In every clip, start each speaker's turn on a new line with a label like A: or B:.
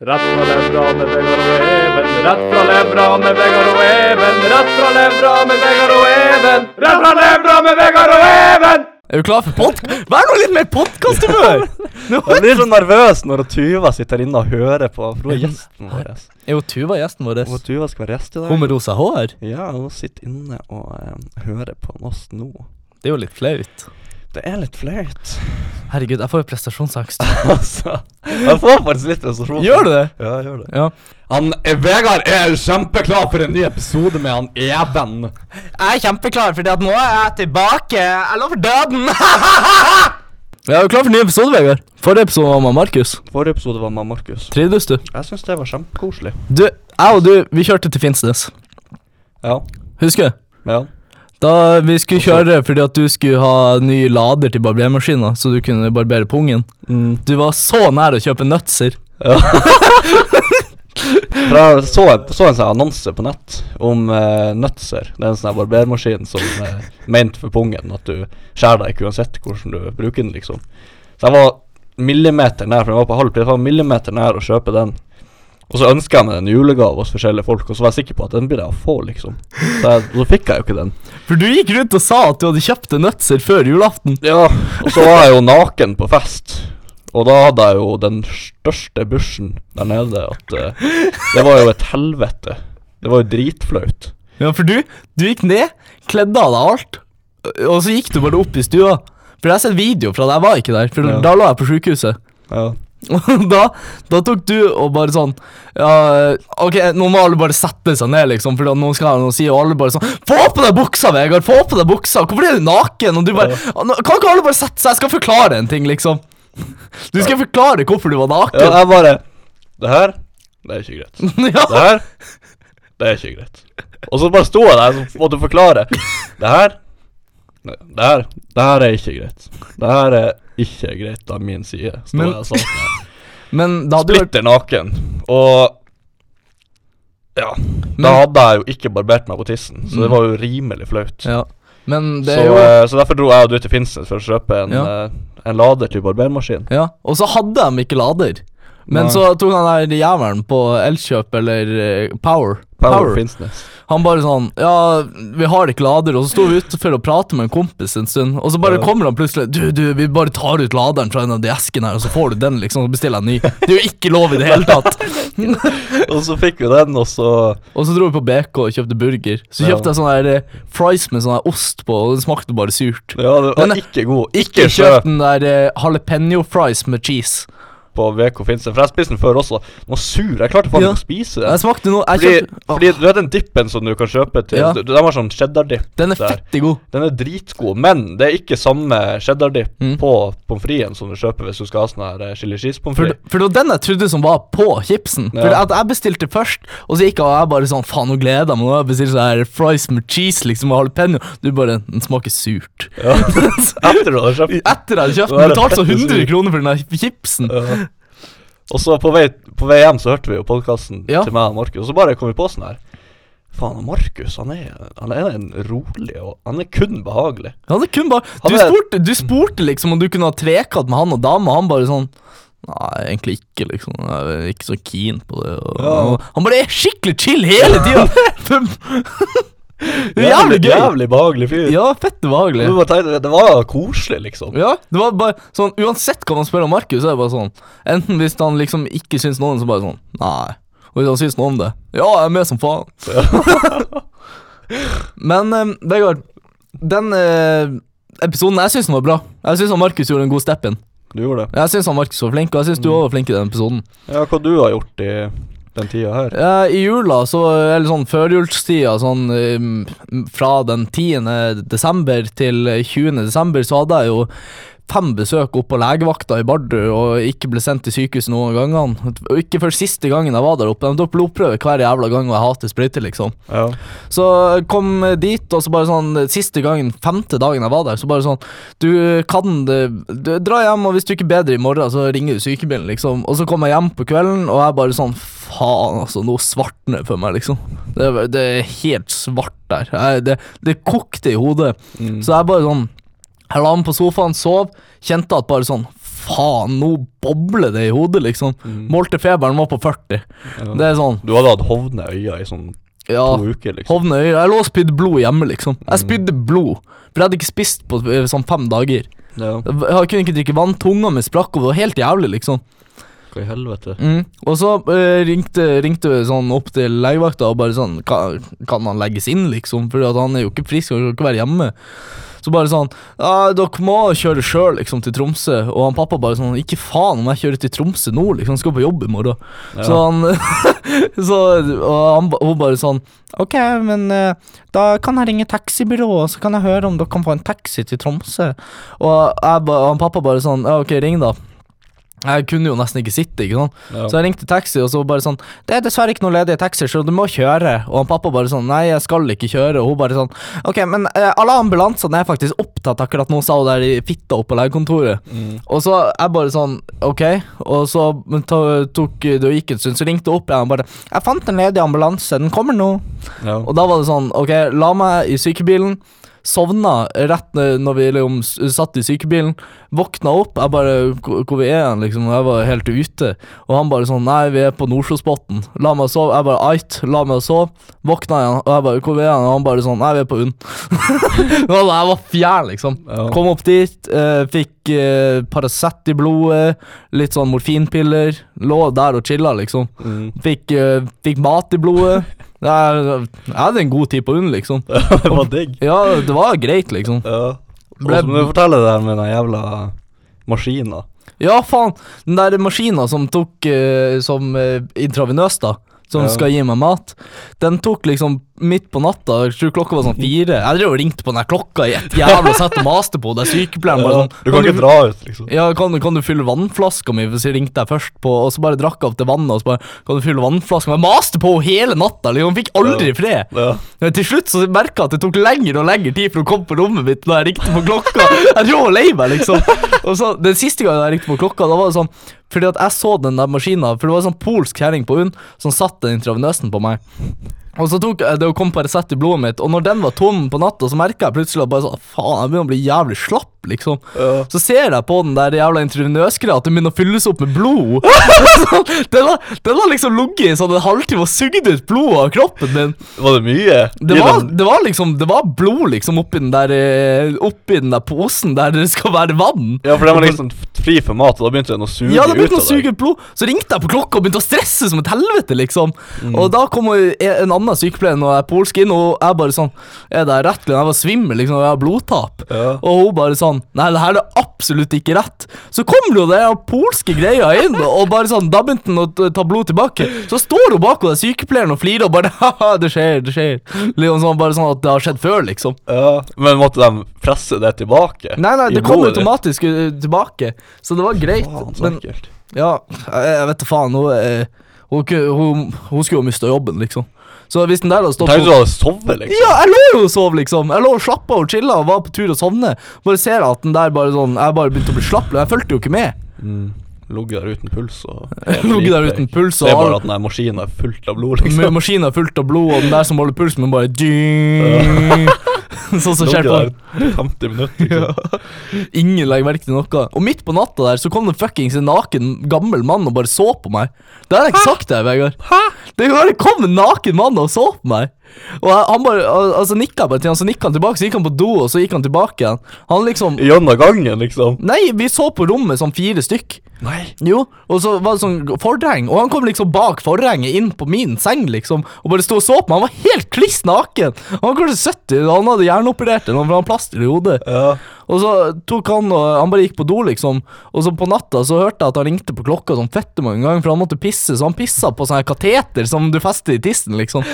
A: Rett fra levra med Vegard og Even. Rett fra levra med Vegard og Even. Rett fra levra med Vegard og Even. Rett fra levra med Vegard og Even!
B: Er du klar for podkast? Vær nå litt mer podkasthumør!
C: Jeg blir så nervøs når Tuva sitter inne og hører på, for hun er gjesten vår.
B: Er jo Tuva gjesten vår?
C: Og Tuva skal være gjest i dag.
B: Hun med rosa hår?
C: Ja, hun sitter inne og eh, hører på oss nå.
B: Det er jo litt flaut.
C: Det er litt flaut.
B: Herregud, jeg får jo prestasjonsangst.
C: altså, jeg får faktisk litt frustrasjon.
B: Gjør du det?
C: Ja, jeg gjør det.
B: Ja.
D: Han, eh, Vegard er kjempeklar for en ny episode med han Even.
E: Jeg er kjempeklar, fordi at nå er jeg tilbake. Jeg lover døden.
B: Ja, Er du klar for ny episode, Vegard? Forrige episode var med Markus.
C: Forrige episode var med Markus.
B: Trivdes du?
C: Jeg syns det var kjempekoselig.
B: Du, jeg og du, vi kjørte til Finnsnes.
C: Ja.
B: Husker du?
C: ja.
B: Da vi skulle kjøre fordi at du skulle ha ny lader til barbermaskina, så du kunne barbere pungen.
C: Mm.
B: Du var så nær å kjøpe nøtser.
C: For jeg så, så en sånn annonse på nett om eh, nøtser. Det er en sånn her barbermaskin som er ment for pungen, at du skjærer deg ikke uansett hvordan du bruker den, liksom. Så jeg var millimeter nær, for den var på halv pris, jeg var millimeter nær å kjøpe den. Og så ønska jeg meg en julegave hos forskjellige folk, og så var jeg sikker på at den burde jeg få, liksom. Så, jeg, så fikk jeg jo ikke den.
B: For du gikk rundt og sa at du hadde kjøpt deg nøtser før julaften.
C: Ja, og så var jeg jo naken på fest. Og da hadde jeg jo den største bushen der nede at eh, Det var jo et helvete. Det var jo dritflaut.
B: Ja, for du, du gikk ned, kledde av deg alt, og så gikk du bare opp i stua. For jeg har sett video fra deg, jeg var ikke der, for
C: Ja.
B: da lå jeg på sykehuset.
C: Ja.
B: Og da, da tok du og bare sånn ja, Ok, nå må alle bare sette seg ned, liksom, for noen skal ha noe å si, og alle bare sånn Få på deg buksa, Vegard! Få på deg buksa! Hvorfor er du naken? Og du bare Kan ikke alle bare sette seg? Jeg skal forklare en ting, liksom. Du skal forklare hvorfor du var
C: Ja,
B: naken.
C: jeg bare Det her, det er ikke greit.
B: Ja.
C: Det her, det er ikke greit. Og så bare sto jeg der og måtte forklare. Det her, nei, det her, det her er ikke greit. Det her er ikke greit av min side. Sto
B: Men-
C: jeg og sa sånn.
B: Men det hadde jo vært
C: Splitter naken. Og Ja. Da hadde jeg jo ikke barbert meg på tissen, så det
B: Mm.
C: var jo rimelig flaut.
B: Ja. Men det
C: så,
B: er jo
C: eh, så derfor dro jeg og du til Finnsnes for å kjøpe en,
B: Ja.
C: eh, en lader til barbermaskin.
B: Ja, og så hadde de ikke lader. Men
C: Nei.
B: så tok han der jævelen på Elkjøp eller eh, Power.
C: Power, Finnsnes.
B: Han bare sånn Ja, vi har ikke lader. Og så sto vi utenfor og pratet med en kompis en stund, og så bare
C: Ja.
B: kommer han plutselig Du, du, vi bare tar ut laderen fra en av de eskene her, og så får du den, liksom, og bestiller en ny. Det er jo ikke lov i det hele tatt.
C: og så fikk vi den, og så
B: Og så dro vi på BK og kjøpte burger. Så
C: Ja.
B: kjøpte jeg sånn der eh, fries med sånn der ost på, og det smakte bare surt.
C: Ja, det var
B: Men- eh,
C: ikke god. Ikke
B: Ikke kjøp
C: kjøp
B: den der eh, jalapeno fries med cheese.
C: på VK Finnsnes, for jeg spiste den før også. Den var sur. Jeg klarte faen
B: Ja.
C: ikke å spise
B: Jeg
C: den.
B: smakte noe jeg
C: Fordi,
B: kjøpte, Åh,
C: fordi du vet den dippen som du kan kjøpe til
B: Ja.
C: du- Den var sånn cheddar-dipp.
B: Den er
C: der.
B: fettig god.
C: Den er dritgod, men det er ikke samme cheddar-dipp
B: Mm.
C: på pommes fritesen som du kjøper hvis du skal ha sånn her eh, chili cheese-pommes
B: For,
C: frites.
B: for det var den jeg trodde som var på chipsen. For
C: Ja.
B: at jeg bestilte først, og så gikk jeg og jeg bare sånn Faen, nå gleder jeg meg. Nå har jeg bestilt sånn her fries med cheese liksom og jalapeño. Du bare Den smaker surt.
C: Ja. Etter du har kjøpt den.
B: Etter jeg hadde kjøpt
C: Nå er
B: den,
C: det
B: betalte jeg
C: fette
B: 100
C: surt.
B: kroner for den der chipsen.
C: Ja. Og så på vei, på vei hjem så hørte vi jo podkasten
B: Ja.
C: til meg og Markus, og så bare kom vi på sånn her Faen, han Markus han er, han er en rolig og Han er kun behagelig.
B: Han er kun bare
C: Han
B: du
C: er-
B: spurte, du spurte liksom om du kunne ha trekant med han og dama, og han bare sånn Nei, egentlig ikke, liksom. Jeg er ikke så keen på det. Og,
C: Ja.
B: og, han bare er skikkelig chill hele tida! det er jævlig gøy!
C: Jævlig behagelig fyr.
B: Ja, fett behagelig.
C: Og vi bare tenkte, Det var koselig, liksom.
B: Ja, det var bare sånn Uansett hva man spør om Markus, så er det bare sånn Enten hvis han liksom ikke syns noe om det, så bare sånn Nei. Og hvis han syns noe om det Ja, jeg er med som faen. Men eh, Vegard, den eh, episoden Jeg syns den var bra. Jeg syns Markus gjorde en god step in.
C: Du gjorde det.
B: Jeg syns Markus var flink, og jeg syns du òg var flink i den episoden.
C: Ja, hva du har gjort i den tida her?
B: Eh, I jula, så, eller sånn førjulstida, sånn eh, fra den 10. desember til 20. desember, så hadde jeg jo fem besøk opp på legevakta i Bardu og ikke ble sendt til sykehuset noen av gangene. Og ikke før siste gangen jeg var der oppe. De tok blodprøve hver jævla gang, og jeg hater sprøyter, liksom.
C: Ja.
B: Så jeg kom dit, og så bare sånn Siste gangen, femte dagen jeg var der, så bare sånn Du kan det du, Dra hjem, og hvis du ikke er bedre i morgen, så ringer du sykebilen, liksom. Og så kom jeg hjem på kvelden, og jeg bare sånn Faen, altså. Nå svartner det for meg, liksom. Det, er- det er helt svart der. Jeg, det, det kokte i hodet. Så jeg bare sånn Jeg la meg på sofaen, sov, kjente at bare sånn faen, nå bobler det i hodet, liksom. Målte-feberen var på 40. Det er sånn
C: Du hadde hatt hovne øyne i sånn
B: Ja.
C: to uker, liksom.
B: Hovne øyre. Jeg lå og spydde blod hjemme, liksom. Jeg spydde blod, for jeg hadde ikke spist på eh, sånn fem dager.
C: Ja.
B: Jeg kunne ikke drikke vann, tunga mi sprakk, og det var helt jævlig, liksom.
C: Hva i helvete?
B: Mm. Og så eh, ringte, ringte vi sånn opp til legevakta og bare sånn Kan, kan han legges inn, liksom? For han er jo ikke frisk og kan ikke være hjemme. Så bare sånn Ja, dere må kjøre sjøl, liksom, til Tromsø. Og han pappa bare sånn Ikke faen om jeg kjører til Tromsø nå, liksom. Han skal på jobb i morgen. Så han så, Og han, ba- hun bare sånn OK, men eh, da kan jeg ringe taxibyrået, og så kan jeg høre om dere kan få en taxi til Tromsø. Og jeg, ba- han pappa bare sånn Ja, OK, ring, da. Jeg kunne jo nesten ikke sitte, ikke sant. Så jeg ringte taxi, og så bare sånn Det er dessverre ikke noen ledige taxier, så du må kjøre. Og han pappa bare sånn Nei, jeg skal ikke kjøre. Og hun bare sånn Ok, men eh, alle ambulansene er faktisk opptatt akkurat nå, sa hun der i fitta oppe på legekontoret. Og så jeg bare sånn Ok. Og så men ta- tok det og gikk en stund, så ringte hun opp igjen og bare Jeg fant en ledig ambulanse, den kommer nå.
C: Ja.
B: Og da var det sånn, ok, la meg i sykebilen Sovna rett n- når vi liksom s- satt i sykebilen Våkna opp, jeg bare, hvor hvor vi er han liksom Og jeg var helt ute Og han bare sånn, nei vi er på Nordsjøspotten La meg sove, jeg bare, ait, la meg sove Våkna igjen, og jeg bare, hvor er han? Og han bare sånn, nei vi er på unn Det var da Jeg var fjern liksom
C: Ja.
B: Kom opp dit, eh, fikk eh, Paracet i blodet Litt sånn morfinpiller Lå der og chilla liksom
C: Mm.
B: Fikk, eh, fikk mat i blodet. Jeg, jeg hadde en god tid på UNN, liksom.
C: det var digg.
B: Ja, det var greit, liksom.
C: Ja. Og
B: Ble-
C: så må du fortelle det her med den jævla maskina.
B: Ja, faen! Den der maskina som tok eh, Som eh, intravenøst, da. Som
C: Ja.
B: skal gi meg mat. Den tok liksom midt på natta. Jeg tror klokka var sånn fire. Jeg drev og ringte på den her klokka i et jævla sett og maste på det. Sykepleieren bare
C: Ja.
B: sånn
C: Du kan ikke dra ut, liksom.
B: Ja, kan, du- kan du fylle vannflaska mi? Så ringte jeg først på, og så bare drakk jeg opp til vannet, og så bare Kan du fylle vannflaska? Jeg maste på henne hele natta! Liksom. Hun fikk aldri fred.
C: Ja.
B: Men til slutt så merka jeg at det tok lengre og lengre tid for å komme på rommet mitt når jeg ringte på klokka. Jeg tror jeg var lei meg, liksom. Og så, Den siste gangen jeg ringte på klokka, da var det sånn Fordi at jeg så den der maskina, for det var en sånn polsk kjerring på UNN som satt den intravenøsen på meg. Og så tok jeg det og kom Paracet i blodet mitt, og når den var tom på natta, så merka jeg plutselig at bare sånn Faen, jeg begynner å bli jævlig slapp, liksom.
C: Ja.
B: Så ser jeg på den der jævla intravenøsgreia at den begynner å fylles opp med blod. Sånn, den, har, den har liksom ligget i sånn en halvtime og sugd ut blodet av kroppen min.
C: Var det mye?
B: Det var, det var liksom Det var blod liksom oppi den der eh, Oppi den der posen der det skal være vann.
C: Ja, for den var liksom fri for mat, og da begynte den å suge
B: Ja, det begynte
C: ut
B: å suge ut blod. Så ringte jeg på klokka og begynte å stresse som et helvete, liksom. Og da kom jo en annen sykepleier når jeg er polsk inn, og jeg bare sånn Er det her rett? Glenn? Jeg var svimmel, liksom, og jeg har blodtap.
C: Ja.
B: Og hun bare sånn Nei, det her er absolutt ikke rett. Så kom jo den her polske greia inn, og bare sånn Da begynte han å t- ta blod tilbake. Så står hun bak og den sykepleieren og flirer og bare Haha, det skjer, det skjer. Liksom sånn, bare sånn at det har skjedd før, liksom.
C: Ja. Men måtte de presse det tilbake?
B: Nei, nei,
C: i
B: det kom
C: blodet ditt?
B: automatisk eh, tilbake, så det var greit.
C: Faen, så
B: men
C: ekkelt.
B: ja, jeg jeg vet da faen. Hun, eh, hun, ku- hun, hun skulle jo mista jobben, liksom. Så hvis den der hadde stått
C: Tenk hvis du
B: på-
C: hadde sovet, liksom.
B: Ja, jeg lå jo og sov, liksom. Jeg lå og slappa og chilla og var på tur og sovne. Bare ser jeg at den der bare sånn Jeg bare begynte å bli slapp. Jeg fulgte jo ikke med.
C: Ligget der uten puls og
B: Ligget der uten puls og
C: Det er bare
B: all
C: at den der maskinen er fullt av blod,
B: med
C: liksom.
B: maskiner fullt av blod, og den der som holder pulsen min, bare ding. Sånn som skjer
C: Ligget
B: på
C: der 50 minutter, liksom.
B: Ingen legger merke til noe. Og midt på natta der så kom det fuckings en naken gammel mann og bare så på meg. Det har jeg ikke sagt til deg, Vegard. Det bare kom en naken mann og så på meg. Og jeg- han bare al- Altså nikka jeg bare til han, så nikka han tilbake, så gikk han på do, og så gikk han tilbake igjen. Han liksom
C: Gjennom gangen, liksom.
B: Nei, vi så på rommet sånn fire stykk.
C: Nei.
B: Jo, og så var det sånn fordrang, og han kom liksom bak forhenget inn på min seng, liksom, og bare stod og så på meg. Han var helt kliss naken! Han var kanskje 70, og han hadde hjerneoperert eller han hadde plaster i hodet.
C: Ja.
B: Og så tok han og Han bare gikk på do, liksom. Og så på natta så hørte jeg at han ringte på klokka sånn fette mange ganger, for han måtte pisse, så han pissa på sånn her kateter som du fester i tissen, liksom.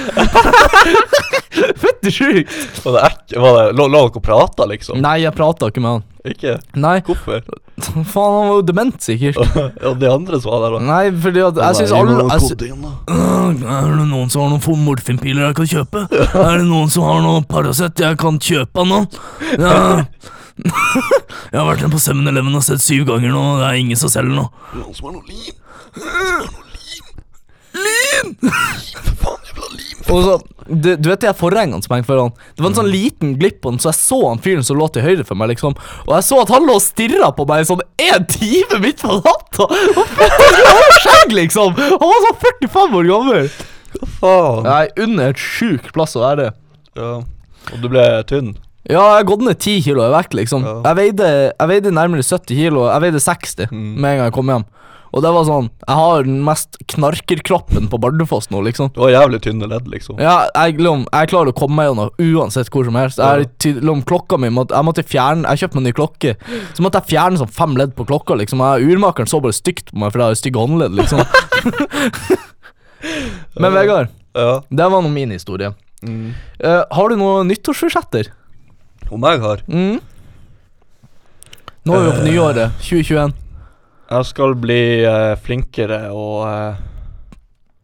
B: fette sjukt!
C: Var det ekk... Var det... Lå lå dere og prata, liksom?
B: Nei, jeg prata ikke med han.
C: Ikke?
B: Nei,
C: Hvorfor?
B: faen, han var jo dement, sikkert.
C: Og de andre som var der, da?
B: Nei, fordi at jeg syns alle jeg sy-
C: alle
B: Er det noen som har noen morfinpiler jeg kan kjøpe? Er det noen som har noe Paracet jeg kan kjøpe av noen? Ja. Jeg har vært inne på 7-Eleven og sett syv ganger nå, og det er ingen som selger noe.
C: Noen som har noe lim? Noen som har noe lim? Lim! Lim! For faen, jævla lim!
B: Og så, du, du vet de her forhengene som henger foran? Det var en sånn liten glipp på den, så jeg så han fyren som lå til høyre for meg, liksom. Og jeg så at han lå og stirra på meg i sånn én time midt på natta! Hva faen er det med skjegg, liksom? Han var sånn 45 år gammel!
C: Faen.
B: Nei, under et sjuk plass å være.
C: Ja. Og du ble tynn?
B: Ja, jeg har gått ned 10 kilo i vekt, liksom.
C: Ja.
B: Jeg, veide, jeg veide nærmere 70 kilo. Jeg veide 60 med en gang jeg kom hjem. Og det var sånn Jeg har den mest knarkerkroppen på Bardufoss nå, liksom.
C: Du har jævlig tynne ledd, liksom.
B: Ja, jeg, liksom, jeg klarer å komme meg gjennom uansett hvor som helst. Jeg, til, liksom, klokka mi måtte, Jeg måtte fjerne Jeg kjøpte meg en ny klokke. Så måtte jeg fjerne sånn fem ledd på klokka. liksom jeg, Urmakeren så bare stygt på meg, for jeg har stygge håndledd. liksom Men Vegard,
C: Ja.
B: det var nå min historie. Eh, har du noen nyttårsforsetter?
C: Mm. Om jeg har
B: Mm. Nå er vi
C: Eh.
B: på nyåret 2021.
C: Jeg skal bli eh, flinkere og eh,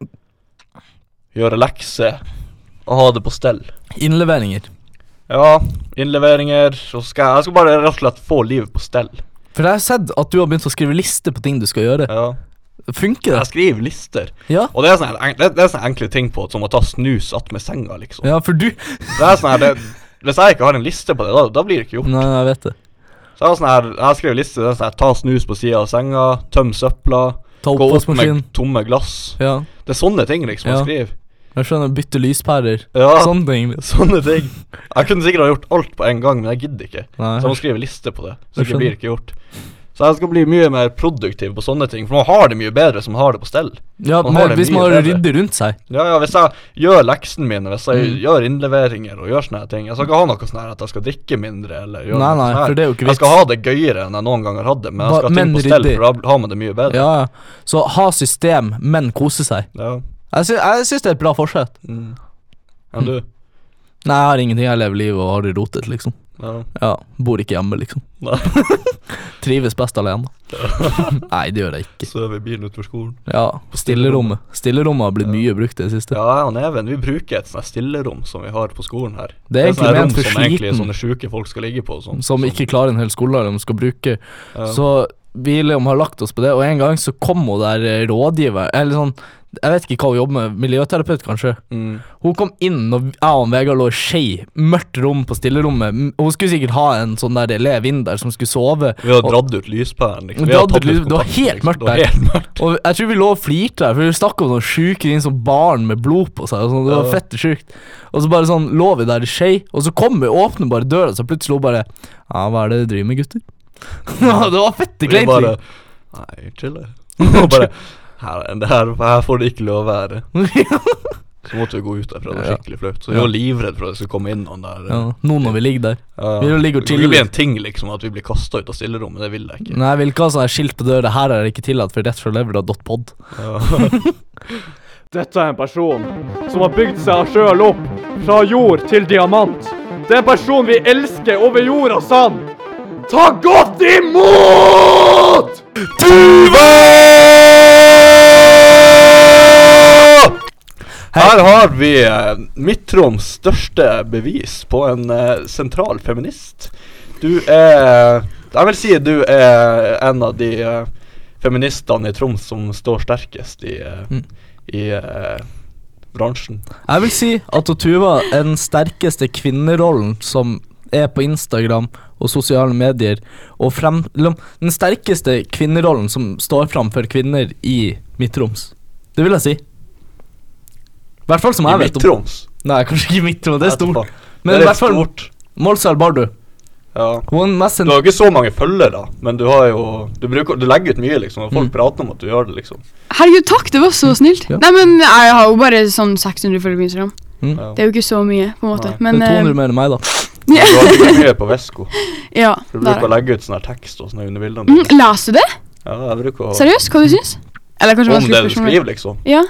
C: gjøre lekser og ha det på stell.
B: Innleveringer.
C: Ja, innleveringer og skal Jeg skal bare rett og slett få livet på stell.
B: For jeg har sett at du har begynt å skrive liste på ting du skal gjøre.
C: Ja.
B: Funker det?
C: Jeg skriver lister,
B: Ja,
C: og det er sånne, her en- det, det er sånne enkle ting på som å ta snus attmed senga, liksom.
B: ja for du
C: Det er sånn her det, Hvis jeg ikke har en liste på det, da, da blir det ikke gjort.
B: Nei, jeg vet det.
C: Så jeg har sånn her Jeg har skrevet liste. Det er sånn her, Ta snus på sida av senga, tøm søpla,
B: Ta
C: gå opp
B: oppvaskmaskin.
C: med tomme glass.
B: Ja.
C: Det er sånne ting, liksom,
B: Ja.
C: jeg skriver.
B: Jeg skjønner, bytte lyspærer.
C: Ja.
B: Sånne ting.
C: Sånne ting. Jeg kunne sikkert ha gjort alt på en gang, men jeg gidder ikke.
B: Nei.
C: Så jeg må skrive liste på det. Så
B: Jeg
C: det blir ikke gjort. Så jeg skal bli mye mer produktiv på sånne ting, for man har det mye bedre som har det på stell.
B: Ja,
C: Man
B: men
C: har det
B: hvis
C: mye
B: man har
C: bedre.
B: ryddig rundt seg.
C: Ja, ja, hvis jeg gjør leksene mine, hvis
B: Mm.
C: jeg gjør innleveringer og gjør sånne her ting Jeg skal ikke ha noe sånn her at jeg skal drikke mindre eller gjøre
B: Nei,
C: noe
B: nei,
C: sånn her.
B: for det er jo ikke
C: Jeg skal ha det gøyere enn jeg noen gang har hatt det, men jeg
B: Ba-
C: skal ha ting
B: men
C: på stell,
B: ryddig.
C: for da har man det mye bedre.
B: Ja, ja. Så ha system, men kose seg.
C: Ja.
B: Jeg syns, jeg syns det er et bra forsett.
C: Mm. Ja, du?
B: Nei, jeg har ingenting. Jeg lever livet og har det rotet, liksom.
C: Ja.
B: Ja, Bor ikke hjemme, liksom.
C: Nei.
B: Trives best alene. Nei, det gjør jeg ikke.
C: Sover i bilen utenfor skolen.
B: Ja, Stillerommet Stillerommet har blitt mye brukt i det siste.
C: Ja, jeg og Neven vi bruker et sånt her stillerom som vi har på skolen her.
B: Det er egentlig
C: sånne her
B: ment for
C: som egentlig
B: sliten.
C: sånne sjuke folk skal ligge på. og Sånn.
B: Som ikke klarer en hel skoledag de skal bruke.
C: Ja.
B: Så vi liksom har lagt oss på det, og en gang så kom hun der eh, rådgiver Eller sånn, jeg vet ikke hva hun jobber med, miljøterapeut kanskje.
C: Mm.
B: Hun kom inn når jeg og Vegard lå i skei, mørkt rom på stillerommet. M- Hun skulle sikkert ha en sånn der elev inn der som skulle sove.
C: Vi har dratt ut lyspæren. Liksom. Vi
B: Dratt
C: har tatt
B: ut lys- det var
C: kontakten,
B: helt mørkt
C: Det var
B: der.
C: helt mørkt.
B: Og jeg tror vi lå og flirte der, for vi snakka om noen sjuke ting som barn med blod på seg. Og sånn, det var
C: Ja.
B: fett sjukt. Og så bare sånn lå vi der i skei, og så kom vi, åpner bare døra, så plutselig hun bare Ja, hva er det du driver med, gutter? det var fette
C: Vi
B: kleint.
C: bare Nei, chill. Og bare her, det her, her får det ikke lov å være.
B: liksom.
C: Så måtte vi gå ut derfra. Det var
B: Ja.
C: skikkelig flaut. Så
B: Ja.
C: vi var livredd for at det skulle komme inn noen der.
B: ja, nå når vi ligger der.
C: Ja,
B: Vi vil ligge og
C: Det kan ikke
B: chille.
C: bli en ting liksom at vi blir kasta ut av stillerommet. Det vil jeg ikke.
B: Nei, jeg vil ikke ha sånn her skilt på døra. Her er det ikke tillatt for rett fra levra.pod.
C: Ja.
A: Dette er en person som har bygd seg sjøl opp fra jord til diamant. Det er en person vi elsker over jord og sand. Ta godt imot!
C: Her har vi eh, Midt-Troms største bevis på en eh, sentral feminist. Du er Jeg vil si du er en av de eh, feministene i Troms som står sterkest i, eh,
B: Mm.
C: i eh, bransjen.
B: Jeg vil si at Tuva er den sterkeste kvinnerollen som er på Instagram og sosiale medier. Og frem, eller, den sterkeste kvinnerollen som står fram for kvinner i Midt-Troms. Det vil jeg si. I hvert fall som
C: I
B: jeg vet om.
C: Midt-Troms.
B: Nei, kanskje ikke Midt-Troms, det er stort.
C: Men
B: Men i
C: det er
B: hvert fall
C: stort.
B: Molsal Bardu.
C: Ja.
B: Hun er den mest
C: Du har ikke så mange følgere, men du har jo Du, bruker, du legger ut mye, liksom. Og folk
B: Mm.
C: prater om at du gjør det, liksom.
F: Herregud, takk, det var så snilt.
B: Ja.
F: Nei, men jeg har jo bare sånn 600 følgere på Instagram.
B: Mm.
C: Ja.
F: Det er jo ikke så mye, på en måte.
C: Nei.
F: Men
B: Det er 200 mer enn meg, da.
F: eh,
C: Du har ikke mye på Vesko.
F: ja,
C: Du
F: der er
C: bruker å
F: det.
C: legge ut sånn her tekst og sånn her under bildene.
F: Mm,
C: dine.
F: Leser du det?
C: Ja, jeg bruker å
F: Seriøst, hva du syns? Eller kanskje
C: Om det
F: vanskelig
C: du
F: spørsmål.
C: skriver, liksom.
F: Ja.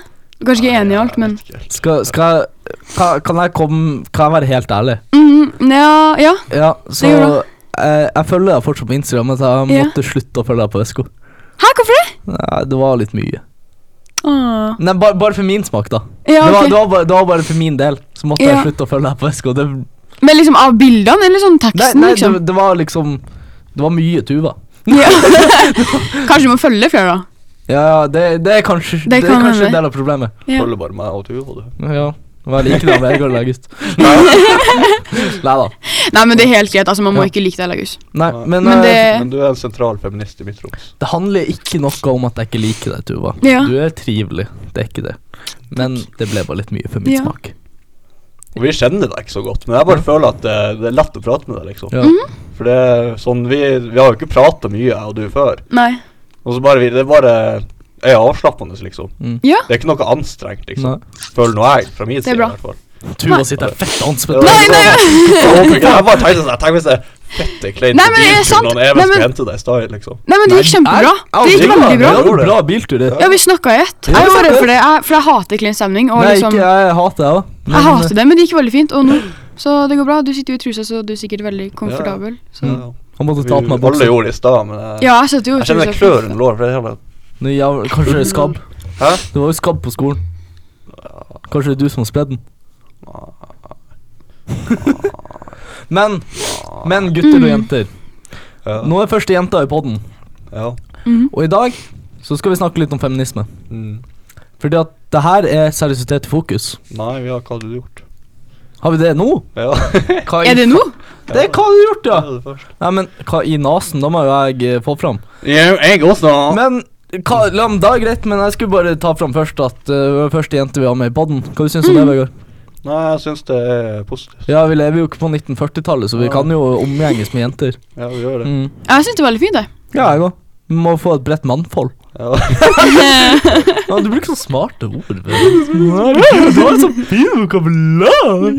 F: Kanskje ikke
C: Nei,
F: enig i
C: jeg
F: alt,
C: vet
F: men
C: ikke helt.
B: Skal, skal jeg ka- Kan jeg komme Kan jeg være helt ærlig?
F: mm, Ja, ja.
B: Ja, så
F: gjør
B: eh, Jeg følger deg fortsatt på Instagram, men jeg
F: Ja.
B: måtte slutte å følge deg på Vesko.
F: Hæ, hvorfor det?
B: Nei, det var litt mye.
F: Åh.
B: Nei, bare, bare for min smak, da.
F: Ja,
B: det, var, det,
F: ok.
B: var bare, det var bare for min del. Så måtte
F: Ja.
B: jeg slutte å følge deg på Vesko. Det, nei,
F: Men liksom av bildene, eller sånn teksten,
B: nei det,
F: liksom?
B: det var liksom Det var mye Tuva.
F: Ja. Kanskje du må følge flere, da.
B: Ja, ja, det, det er kanskje, det
F: Det
B: er
F: kan
B: kanskje
F: hende.
B: en del av problemet.
F: Ja.
C: Følger bare meg og Tuva, du.
B: Ja. Hva liker du av Vegard Laugust? Nei da.
F: Nei, men det er helt greit. Altså, Man må
B: Ja.
F: ikke like deg, Lagus.
B: Nei, men,
F: Men
B: eh, det...
F: det-
C: Men du er en sentral feminist i mitt rom.
B: handler ikke noe om at jeg ikke liker deg, Tuva.
F: Ja.
B: Du er trivelig, det er ikke det. Men det ble bare litt mye for min
F: Ja.
B: smak.
C: Og vi kjenner deg ikke så godt, men jeg bare føler at det, det er lett å prate med deg, liksom.
B: Ja.
F: Mhm.
C: For det er sånn Vi, vi har jo ikke prata mye, jeg og du, før.
F: Nei.
C: Og så bare vi Det er bare jeg er avslappende, liksom.
B: Mm.
F: Ja.
C: Det er ikke noe anstrengt, liksom. Føler nå jeg, fra min
F: er
C: side i
F: bra.
C: hvert fall.
B: Tuva sitter her fett anspent.
C: Nei,
F: nei,
C: Jeg bare tenkte sånn Tenk hvis det er fette kleint
F: Nei,
C: på
F: men det er
C: bilturen
F: sant.
C: når
F: Nei,
C: Even
F: men-
C: skal hente deg i stad, liksom.
F: Nei, men det gikk kjempebra. Det gikk veldig bra.
B: Det var en bra biltur. det.
F: Ja, vi snakka i ett. Jeg
B: Ja.
F: var redd for det, jeg, for jeg hater clean stemning. Og
B: Nei,
F: liksom,
B: ikke jeg hater det òg.
F: jeg hater det, men det gikk veldig fint. Og nå, så det går bra. Du sitter jo i trusa, så du er sikkert veldig komfortabel. Så.
C: Ja,
B: eh, Han måtte ta på
C: Vi
B: meg
C: alle
B: buksa.
C: gjorde det i stad, men jeg,
F: Ja, jeg sitter jo i
C: jeg kjenner det
F: trusa.
C: klør under låret. for det er sånn jævla-
B: Nå, jævla- Kanskje det er skabb.
C: Hæ?
B: Det var jo skabb på skolen. Kanskje det er du som har spredd den. Men, men gutter
F: Mm.
B: og jenter.
C: Ja.
B: Nå er første jenta i poden,
C: ja.
B: og i dag så skal vi snakke litt om feminisme.
C: Mm.
B: Fordi at det her er seriøsitet i fokus.
C: Nei, vi har hva hadde du gjort.
B: Har vi det nå?
C: Ja.
B: Hva i
F: Er det nå?
B: fa- Det er hva har du gjort, ja!
C: Det er det første.
B: Nei, men hva i nasen? Da må jo jeg eh, få fram.
C: Ja, jeg også.
B: Men hva, la, meg- da er greit, men jeg skulle bare ta fram først at eh, hun er første jente vi har med i poden. Hva du syns du om det, Vegard?
C: Nei, jeg syns det er positivt.
B: Ja, vi lever jo ikke på 1940-tallet, så vi
C: Ja.
B: kan jo omgjenges med jenter.
C: Ja, vi gjør det.
B: Mm.
F: Jeg syns det er veldig fint, jeg.
B: Ja, jeg òg. Vi må få et bredt mannfold.
C: Ja.
B: Ja, du bruker sånne smarte ord. Herregud, du har så fin vokabular!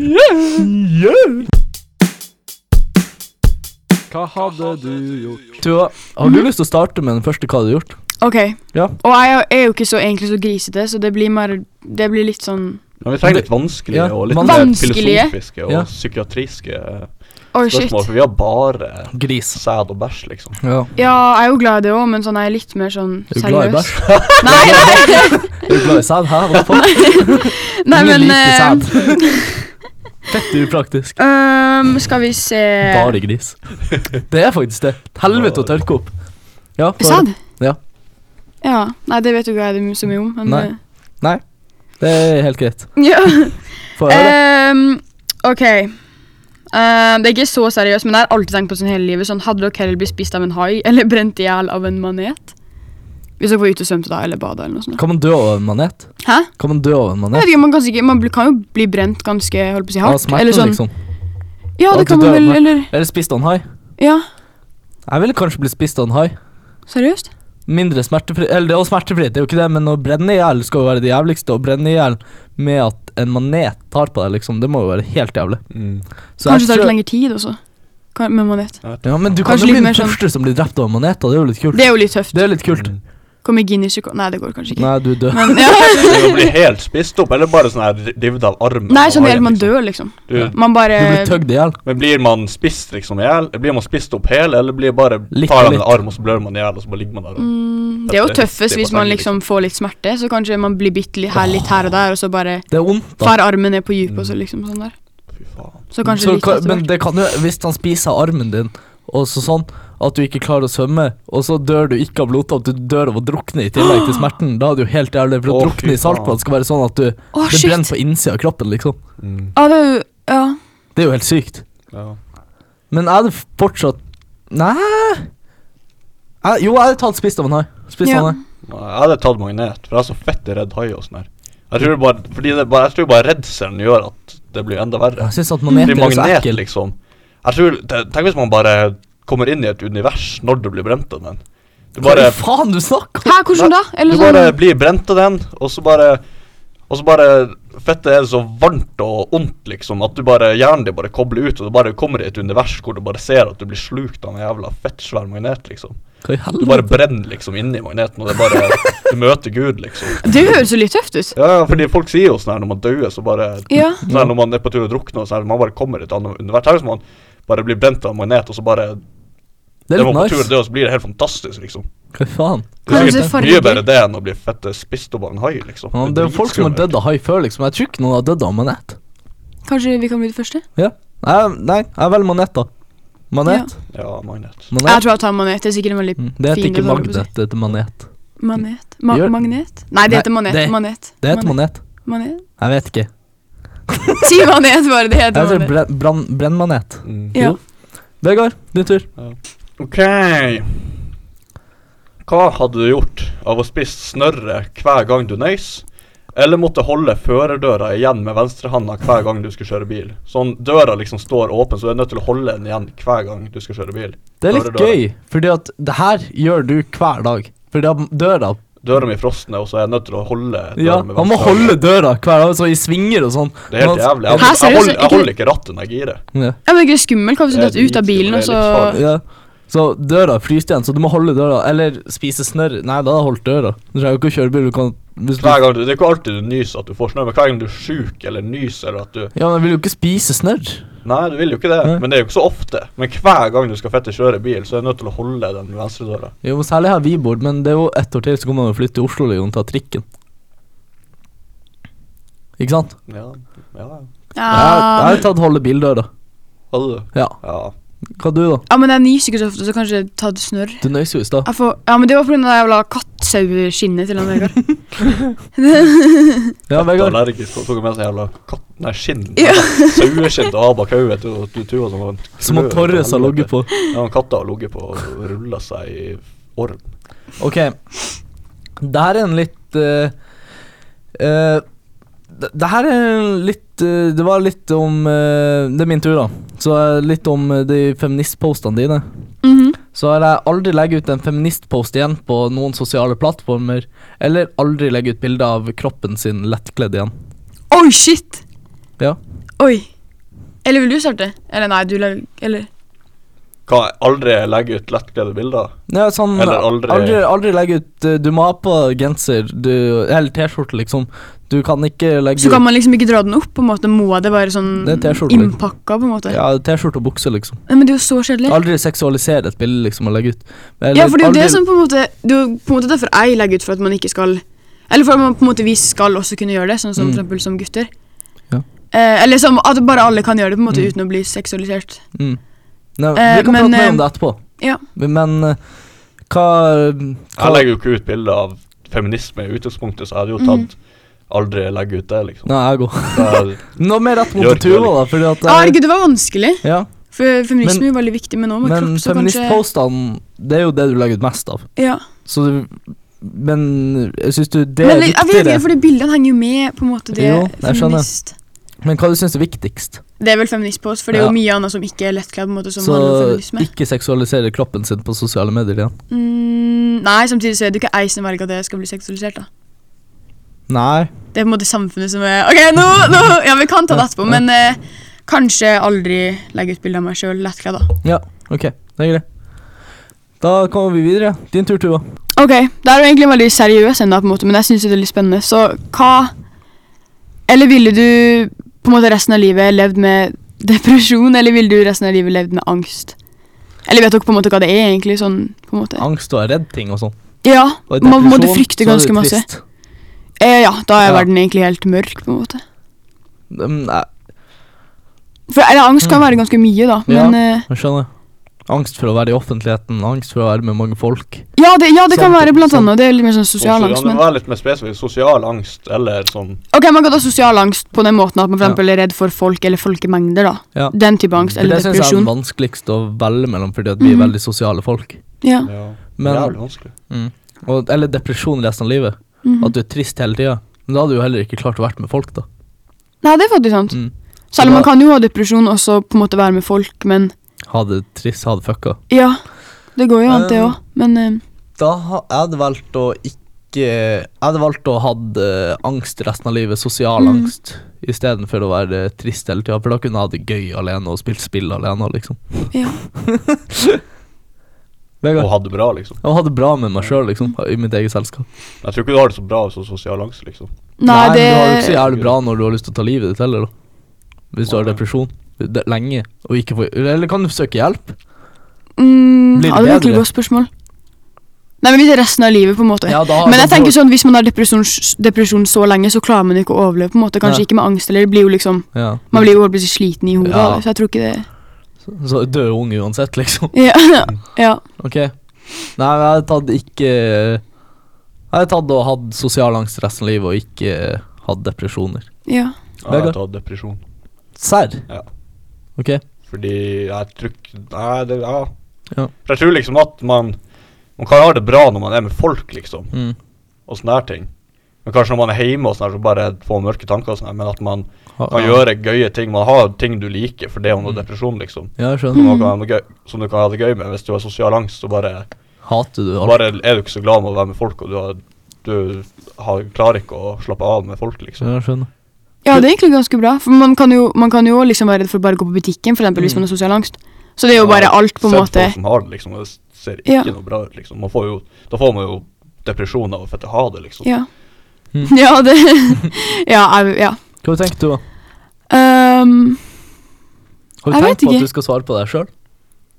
A: Hva hadde du gjort?
B: Tuva, har du lyst til å starte med den første hva du har gjort?
F: Ok.
B: Ja.
F: Og jeg er jo ikke så egentlig så grisete, så det blir, mer, det blir litt sånn
C: Men vi trenger litt vanskelige
B: Ja,
C: og litt mer
F: vanskelige.
C: filosofiske og
B: Ja.
C: psykiatriske eh,
F: Oh, shit.
C: spørsmål. For vi har bare
B: Gris.
C: sæd og bæsj, liksom.
B: Ja.
F: Ja, jeg er jo glad i det òg, men sånn, jeg er litt mer sånn
B: Er du glad i
F: seriøs.
B: bæsj?
F: Nei,
B: Er du glad i sæd? Hæ? Hva faen?
F: nei, men
B: liker
F: eh,
B: sæd. Fett upraktisk.
F: øhm, Skal vi se
B: Bare gris. Eh, Det er faktisk det. Helvete å tørke opp. Ja, for-
F: Sæd?
B: Ja.
F: ja. Nei, det vet jo ikke jeg så mye om, men
B: Nei.
F: eh,
B: Det er helt greit.
F: Ja.
B: Får jeg høre?
F: Ehm, ok. Ehm, det er ikke så seriøst, men jeg har alltid tenkt på sånn hele livet. Sånn, hadde dere heller blitt spist av en hai eller brent i hjel av en manet? Hvis dere var ute og svømte da, eller bada eller noe sånt.
B: Kan man dø av en manet?
F: Hæ?
B: Kan man dø av en
F: Jeg
B: manet?
F: vet ikke, man kan, sikkert, man bli- kan jo bli brent ganske holdt på å si
B: Av
F: hardt.
B: smerten,
F: eller sånn.
B: liksom?
F: Ja,
B: Av
F: det
B: at
F: kan
B: du
F: man
B: dør av
F: vel,
B: smerte.
F: eller
B: Eller spist av en hai?
F: Ja,
B: Jeg ville kanskje blitt spist av en hai.
F: seriøst?
B: Mindre smertefri Eller det er jo smertefritt, det er jo ikke det, men å brenne i hjel skal jo være det jævligste. Å brenne i hjel med at en manet tar på deg, liksom, det må jo være helt jævlig. Så jeg
F: Kanskje det tar
B: tror-
F: litt lengre tid også. Kan, med manet.
B: Ja, men du kan jo
F: Kanskje
B: bli
F: litt
B: den
F: mer sånn-
B: første som blir drept av en manet, da. Det er jo litt kult.
F: Det er jo litt tøft.
B: Det er litt kult.
F: Kommer Guinness rekord Nei, det går kanskje ikke.
B: Nei, du er død.
F: Men, ja. sånn
C: Du blir helt spist opp, eller bare sånn her revet av armen.
F: Nei,
C: og
F: sånn helt
C: haien,
F: man
C: liksom.
F: dør, liksom.
C: Du,
F: Man bare
B: Du blir tøgd i hjel.
C: men blir man spist liksom i hjel? Blir man spist opp hele, eller blir bare
B: Litt
C: tar
B: og
C: man en
B: litt.
C: arm, og så blør man i hjel, og så bare ligger man der? og-
F: Mm, det er jo
C: Det er
F: tøffest
C: riktig
F: hvis
C: på
F: man
C: tanken,
F: liksom får litt smerte, så kanskje man blir bitt litt her, litt her og der, og så bare
B: Det er ondt, da.
F: far armen ned på dypet og så liksom sånn der.
C: Fy faen.
F: Så kanskje
B: Så
F: litt
B: kan,
F: etter
B: men
F: hvert.
B: det kan jo Hvis han spiser armen din, og så sånn at du ikke klarer å svømme, og så dør du ikke av blodtapp, du dør av å drukne i tillegg til smerten, da er det jo helt jævlig. For å
C: Å, fy
B: drukne i saltvann
C: faen.
B: skal være sånn at du
F: Å,
B: Det brenner
F: shit!
B: på innsida av kroppen, liksom.
F: Ja, det er jo Ja.
B: Det er jo helt sykt.
C: Ja.
B: Men jeg hadde fortsatt Nei jeg, Jo, jeg hadde tatt spist av en hai. Spist av
F: Ja.
B: en hai.
C: Nei, Jeg hadde tatt magnet, for jeg er så fett redd hai og sånn her. Jeg tror bare, fordi det bare, jeg tror bare redselen gjør at det blir enda verre.
B: Jeg syns at maneter
C: Fordi
B: er så
C: magnet,
B: ekkel.
C: liksom. Jeg tror, te- Tenk hvis man bare kommer inn i et univers når du blir brent av den. Du
B: Hva
C: bare,
B: i faen du snakker om?
F: Hæ, hvordan da?
C: du
F: Eller
C: bare
F: sånn
C: blir brent av den, og så bare og så bare Fettet er så varmt og ondt, liksom, at du bare, hjernen din bare kobler ut, og du bare kommer i et univers hvor du bare ser at du blir slukt av en jævla fettsvær magnet, liksom.
B: Hva i
C: Du
B: helvete?
C: bare brenner liksom inni magneten, og det er bare Du møter Gud, liksom.
F: Det høres jo litt tøft ut.
C: Ja, ja, fordi folk sier jo sånn her når man dør, så bare
F: Ja.
C: sånn her Når man er på tur og drukner, og sånn her, man bare kommer i et annet univers. Her hvis man bare blir brent av en magnet, og så bare
B: Det er
C: når
B: litt
C: man på tur og
B: nice.
C: dør, så blir det helt fantastisk, liksom.
B: Hva i faen?
C: Det
F: Kanskje
C: er sikkert
F: farger.
C: mye bedre det enn å bli fett spist opp av en hai, liksom.
B: Ja, det er jo folk som har
C: dritskummelt.
B: dødd av hai før, liksom. Jeg tror ikke noen har dødd av manet.
F: Kanskje vi kan bli de første?
B: Ja. Nei, nei, jeg velger manet, da. Manet.
C: Ja, magnet.
F: Jeg
B: manet.
F: tror jeg tar manet. Det er sikkert en veldig
B: Mm, Det heter
F: fin
B: ikke
F: detalj, holdt på å si.
B: magnet, det heter manet.
F: Manet? Ma
B: Gjør-
F: magnet? Nei,
B: Nei,
F: det heter manet.
B: det-
F: Manet.
B: Det heter manet.
F: Manet.
B: Jeg vet ikke.
F: Si manet, bare. Det
B: Jeg
F: heter
B: heter
F: manet.
B: brenn- brann- brennmanet.
F: Ja.
B: Vegard, din tur.
C: OK. Hva hadde du gjort av å spise snørre hver gang du nøys? Eller måtte holde førerdøra igjen med venstrehanda hver gang du skal kjøre bil? Sånn døra liksom står åpen, så du er nødt til å holde den igjen hver gang du skal kjøre bil.
B: Det er litt
C: Døra, døra.
B: gøy, fordi at det her gjør du hver dag. Fordi at døra
C: Døra mi er frosne, og så er jeg nødt til å holde døra
B: Ja,
C: med
B: man må
C: venstre hånd.
B: holde døra hver dag, så i svinger og sånn.
C: Det er helt jævlig. Jeg,
F: Hæ,
C: jeg,
F: seriøst?
C: holder, jeg
F: Ikke-
C: holder ikke rattet når jeg girer.
B: Ja.
F: ja, men det er ikke skummelt. Hva hvis du
C: Det er
F: detter ut av bilen, og
C: dritskummelt,
F: så
C: det
B: ja. Så døra fryser igjen, så du må holde døra. Eller spise snørr. Nei, da har jeg holdt døra. Du trenger jo ikke å kjøre bil. Du kan hvis du,
C: Hver gang du, det er ikke alltid du nyser at du får snørr, men hver gang du er sjuk eller nyser eller at du
B: ja, men jeg vil jo ikke spise snørr.
C: Nei, du vil jo ikke det,
B: Nei.
C: men det er jo ikke så ofte. Men hver gang du skal fette kjøre bil, så er du nødt til å holde den venstre døra.
B: Jo, men særlig her vi bor, men det er jo ett år til, så kommer man jo flytte til Oslo liksom, og ta trikken. Ikke sant?
C: Ja, ja, ja.
F: Ah.
B: Jeg, jeg
F: ja.
B: har tatt holde bildøra.
C: Hadde du?
B: Ja.
C: Ja.
B: Hva du, da?
F: ja, men jeg nyser ikke så ofte, så kanskje ta et snørr.
B: Du nøys jo i stad.
F: Jeg får, ja, men det var pga. det jævla kattsaueskinnet til han Vegard.
B: Ja,
C: Katt
B: Vegard.
C: allergisk og tok med seg jævla katt... Nei, skinn.
F: Ja.
C: Saueskinn til Abak Hauge til du tua som var en
B: Som han
C: klø
B: Torres har
C: til
B: ligget på.
C: helvete. Ja, han katta har ligget på og rulla seg i orm.
B: Ok. Det her er en litt eh, eh, det, det her er en litt eh, Det var litt om eh, Det er min tur, da. Så eh, litt om eh, de feministpostene dine.
F: Mhm.
B: Så har jeg aldri legget ut en feministpost igjen på noen sosiale plattformer. Eller aldri legge ut bilde av kroppen sin lettkledd igjen.
F: Oi, shit!
B: Ja.
F: Oi. Eller vil du starte? Eller nei, du lag... Eller
C: Kan jeg aldri legge ut lettkledde bilder?
B: Ja, sånn,
C: Eller aldri-
B: aldri Aldri legge ut eh, Du må ha på genser du, eller T-skjorte, liksom. Du kan ikke legge
F: Så kan
B: ut
F: man liksom ikke dra den opp, på en måte. Må det være sånn
B: Det er T-skjorte, liksom.
F: innpakka, på en måte?
B: Ja, T-skjorte og bukse, liksom.
F: Nei, men det er jo så kjedelig.
B: Aldri seksualisere et bilde, liksom, og legge ut. Eller
F: Ja, for det er jo
B: aldri-
F: det som på en måte Det er jo på en måte derfor jeg legger ut for at man ikke skal Eller for at man på en måte vi skal også kunne gjøre det, sånn som
B: Mm.
F: for eksempel som gutter.
B: Ja.
F: Eh, eller som at bare alle kan gjøre det på en måte
B: Mm.
F: uten å bli seksualisert.
B: mm. Nei,
F: Eh,
B: Vi kan
F: men,
B: prate mer om
F: eh,
B: det etterpå.
F: ja.
B: Men eh, hva, hva
C: Jeg legger jo ikke ut bilder av feminisme i utgangspunktet, så jeg hadde jo tatt
F: Mm.
C: Aldri legge ut det, liksom.
B: Nei, jeg går.
C: Jeg,
B: Nå mer rett mot
C: Gjør ikke det,
B: Tuva, da, fordi at
F: Ah,
B: jeg-
F: herregud, det var vanskelig.
B: ja,
F: For feminisme
B: Men-
F: er jo veldig viktig, men nå med
B: Men
F: kropp, så kanskje
B: feministpostene, det er jo det du legger ut mest av.
F: ja.
B: Så du Men jeg syns du det er
F: Men jeg, jeg vet
B: viktigere?
F: ikke, fordi bildene henger jo med, på en måte. Det
B: Jo,
F: er
B: jeg skjønner.
F: feminist.
B: Men hva du syns er viktigst?
F: Det er vel feminist på oss, for det er
B: Ja.
F: jo mye annet som ikke er lettkledd, på en måte, som
B: Så
F: handler om feminisme.
B: ikke seksualisere kroppen sin på sosiale medier igjen.
F: Mm, nei, samtidig så er det jo ikke jeg som velger at det skal bli seksualisert, da.
B: Nei.
F: Det er på en måte samfunnet som er Ok, nå, nå Ja, vi kan ta det etterpå, men eh, kanskje aldri legge ut bilde av meg sjøl lettkledd, da.
B: Ja, ok. Det er greit. Da kommer vi videre. Din tur, Tuva.
F: Ok, det er jo egentlig veldig seriøs ennå, på en måte, men jeg syns det er litt spennende. Så hva Eller ville du på en måte resten av livet levd med depresjon, eller ville du resten av livet levd med angst? Eller vet dere på en måte hva det er, egentlig? sånn, på en måte?
B: Angst og redd ting og sånn.
F: Ja,
B: Og i
F: man måtte
B: depresjon, så
F: frykte
B: er det
F: ganske masse.
B: trist.
F: Eh, ja, da er
B: Ja.
F: verden egentlig helt mørk, på en måte.
B: Mm, Nei,
F: For eller, angst kan være ganske mye, da,
B: Mm. Ja.
F: men eh,
B: jeg skjønner. Angst for å være i offentligheten, angst for å være med mange folk.
F: Ja, det, ja, det kan
B: Sånn-
F: være blant
B: sånn-
F: annet. Det er litt mer sånn sosial
C: Sosial
F: angst.
C: Ja,
F: Men...
C: det var litt mer spesifikt. Sosial angst, eller sånn
F: Ok, Man kan ta sosial angst på den måten at man for
B: Ja.
F: eksempel er redd for folk eller folkemengder. da.
B: Ja.
F: Den type angst.
B: For
F: Eller
B: det syns jeg er den
F: depresjon.
B: vanskeligste å velge mellom, fordi at vi er
F: Mhm.
B: veldig sosiale folk.
F: Ja.
C: ja,
B: Men-
C: Jævlig vanskelig.
B: Mm. Og, eller depresjon resten av livet.
F: mhm.
B: At du er trist hele tida. Men da hadde du jo heller ikke klart å være med folk, da.
F: Nei, det er faktisk sant.
B: Mm.
F: Selv
B: Så
F: om
B: da-
F: man kan jo ha depresjon og så på en måte være med folk, men
B: Ha det trist, ha det fucka.
F: ja. Det går jo an, det
B: Um,
F: òg. Men eh,
B: Da ha- jeg hadde valgt å ikke Jeg hadde valgt å ha eh, angst resten av livet, sosial
F: Mm.
B: angst, istedenfor å være eh, trist hele tida. For da kunne jeg ha det gøy alene og spilt spill alene, liksom.
F: Ja.
C: Og
B: Vegard,
C: ha det bra, liksom.
B: jeg ha det bra med meg sjøl, liksom, i mitt eget selskap.
C: Jeg tror ikke du har det så bra som sosial angst, liksom.
F: nei,
B: men
F: det
B: Du har det ikke så jævlig bra når du har lyst til å ta livet ditt heller, da. Hvis du har
C: Nei.
B: depresjon det- lenge og ikke får Eller kan du søke hjelp?
F: mm,
B: Blir det
F: ja, det er virkelig
B: bedre?
F: et godt spørsmål. Nei, men Hvis det er resten av livet, på en måte.
B: da,
F: Men jeg
B: da får-
F: tenker sånn, hvis man har depresjon, depresjon så lenge, så klarer man ikke å overleve. på en måte. Kanskje
B: Nei.
F: ikke med angst, eller det blir jo liksom
B: ja.
F: Man blir jo plutselig sliten i hodet,
B: Ja.
F: av det, så jeg tror ikke det
B: Så død ung uansett, liksom.
F: Ja, ja.
B: Ok. Nei, men jeg hadde tatt ikke Jeg hadde tatt og hatt sosial angst resten av livet og ikke eh, hatt depresjoner.
F: ja.
C: Jeg har
B: Vegard?
C: tatt depresjon.
B: Serr?
C: Ja.
B: Ok.
C: Fordi jeg tror ikke- Nei, det Ja.
B: Ja.
C: For jeg tror liksom at man Man kan ha det bra når man er med folk, liksom,
B: Mm.
C: og sånne her ting. Men kanskje når man er hjemme og sånn her, så bare får man mørke tanker og sånn her, men at man
B: Ha-
C: kan gjøre gøye ting. Man har ting du liker fordi man har
B: Mm.
C: depresjon, liksom.
B: Ja, jeg
C: Som,
B: skjønner.
F: Mm.
C: man kan, ha det gøy- som du kan ha det gøy med. Hvis du har sosial angst, så bare,
B: Hater du alt?
C: bare er du ikke så glad med å være med folk, og du, har, du har, klarer ikke å slappe av med folk, liksom.
B: Ja, jeg skjønner.
F: Ja, det er egentlig ganske bra. For man kan jo, man kan jo liksom være redd for å bare gå på butikken, for eksempel hvis
B: Mm.
F: man har sosial angst. Så det er jo bare alt, på en måte.
C: Sett folk som har det, liksom, og det ser ikke
F: Ja.
C: noe bra ut, liksom. Man får jo, da får man jo depresjon av å fette ha det, liksom.
F: Ja.
B: Mm.
F: Ja, det Ja. Jeg, ja.
B: Hva tenker du, da?
F: Ehm,
B: Har du
F: Jeg
B: tenkt
F: vet
B: på at
F: ikke.
B: du skal svare på deg sjøl?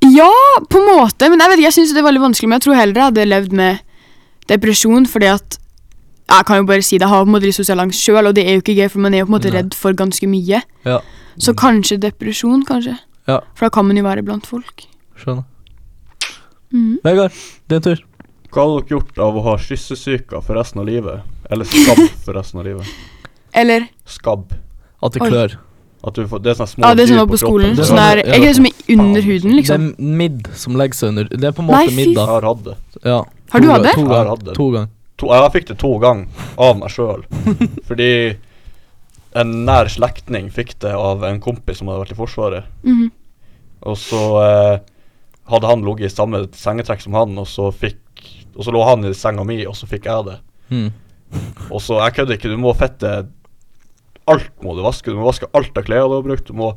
F: ja, på en måte, men jeg vet ikke, jeg syns det er veldig vanskelig. Men jeg tror heller jeg hadde levd med depresjon, fordi at Jeg kan jo bare si det, jeg har på en måte litt sosial angst sjøl, og det er jo ikke gøy, for man er jo på en måte
B: Nei.
F: redd for ganske mye.
B: Ja.
F: Så kanskje depresjon, kanskje.
B: Ja.
F: For da kan man jo være blant folk.
B: Skjønner.
F: Mhm.
B: Vegard, din tur.
C: Hva hadde dere gjort av å ha kyssesyke for resten av livet? Eller skabb for resten av livet?
F: Eller
C: Skabb.
B: At det
F: Oi.
B: klør.
C: At du får, det er sånne små
F: Ja, det som
C: dyr
F: var på
C: kroppen.
F: skolen.
B: Det
F: Sånn
B: var-
F: der,
B: ja.
F: er ikke det som er under huden, liksom?
B: Det er midd som legger seg under. Det er på en
F: Nei,
B: måte
F: fy
B: midd,
C: Jeg
B: da.
C: har hatt det.
B: Ja.
F: Har du
B: To-
F: hatt det?
B: To
C: Jeg har hatt
B: ganger.
C: det.
B: To ganger.
C: To, jeg fikk det to ganger av meg sjøl. fordi en nær slektning fikk det av en kompis som hadde vært i Forsvaret.
F: Mhm.
C: Og så eh, hadde han ligget i samme sengetrekk som han, og så fikk Og så lå han i senga mi, og så fikk jeg det.
B: Mm.
C: Og så Jeg kødder ikke, du må fette Alt må du vaske. Du må vaske alt av klærne du har brukt. Du må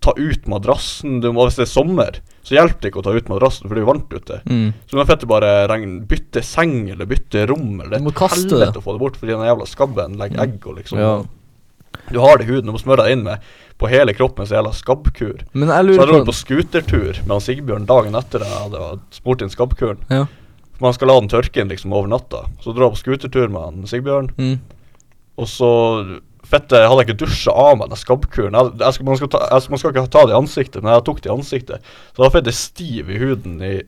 C: ta ut madrassen. Du må, hvis det er sommer, så hjelper det ikke å ta ut madrassen, for det er jo varmt ute.
B: Mm.
C: Så du må fette bare regn, bytte seng eller bytte rom eller
B: Du må kaste
C: helvete
B: det.
C: å få det bort, fordi den jævla skabben legger egg og liksom
B: Ja.
C: Du har det i huden, du må smøre deg inn med på hele kroppen en sånn jævla skabbkur.
B: Men jeg
C: Så jeg
B: lurer
C: dro
B: på
C: på scootertur med han Sigbjørn dagen etter jeg hadde smurt inn skabbkuren.
B: Ja.
C: For Man skal la den tørke inn liksom over natta. Så dro jeg på scootertur med han Sigbjørn,
B: mm.
C: og så Fette, hadde jeg ikke dusja av meg den skabbkuren. Jeg, jeg skal, man, skal ta, jeg, man skal ikke ta det i ansiktet, men jeg tok det i ansiktet. Så da fikk jeg stiv i huden i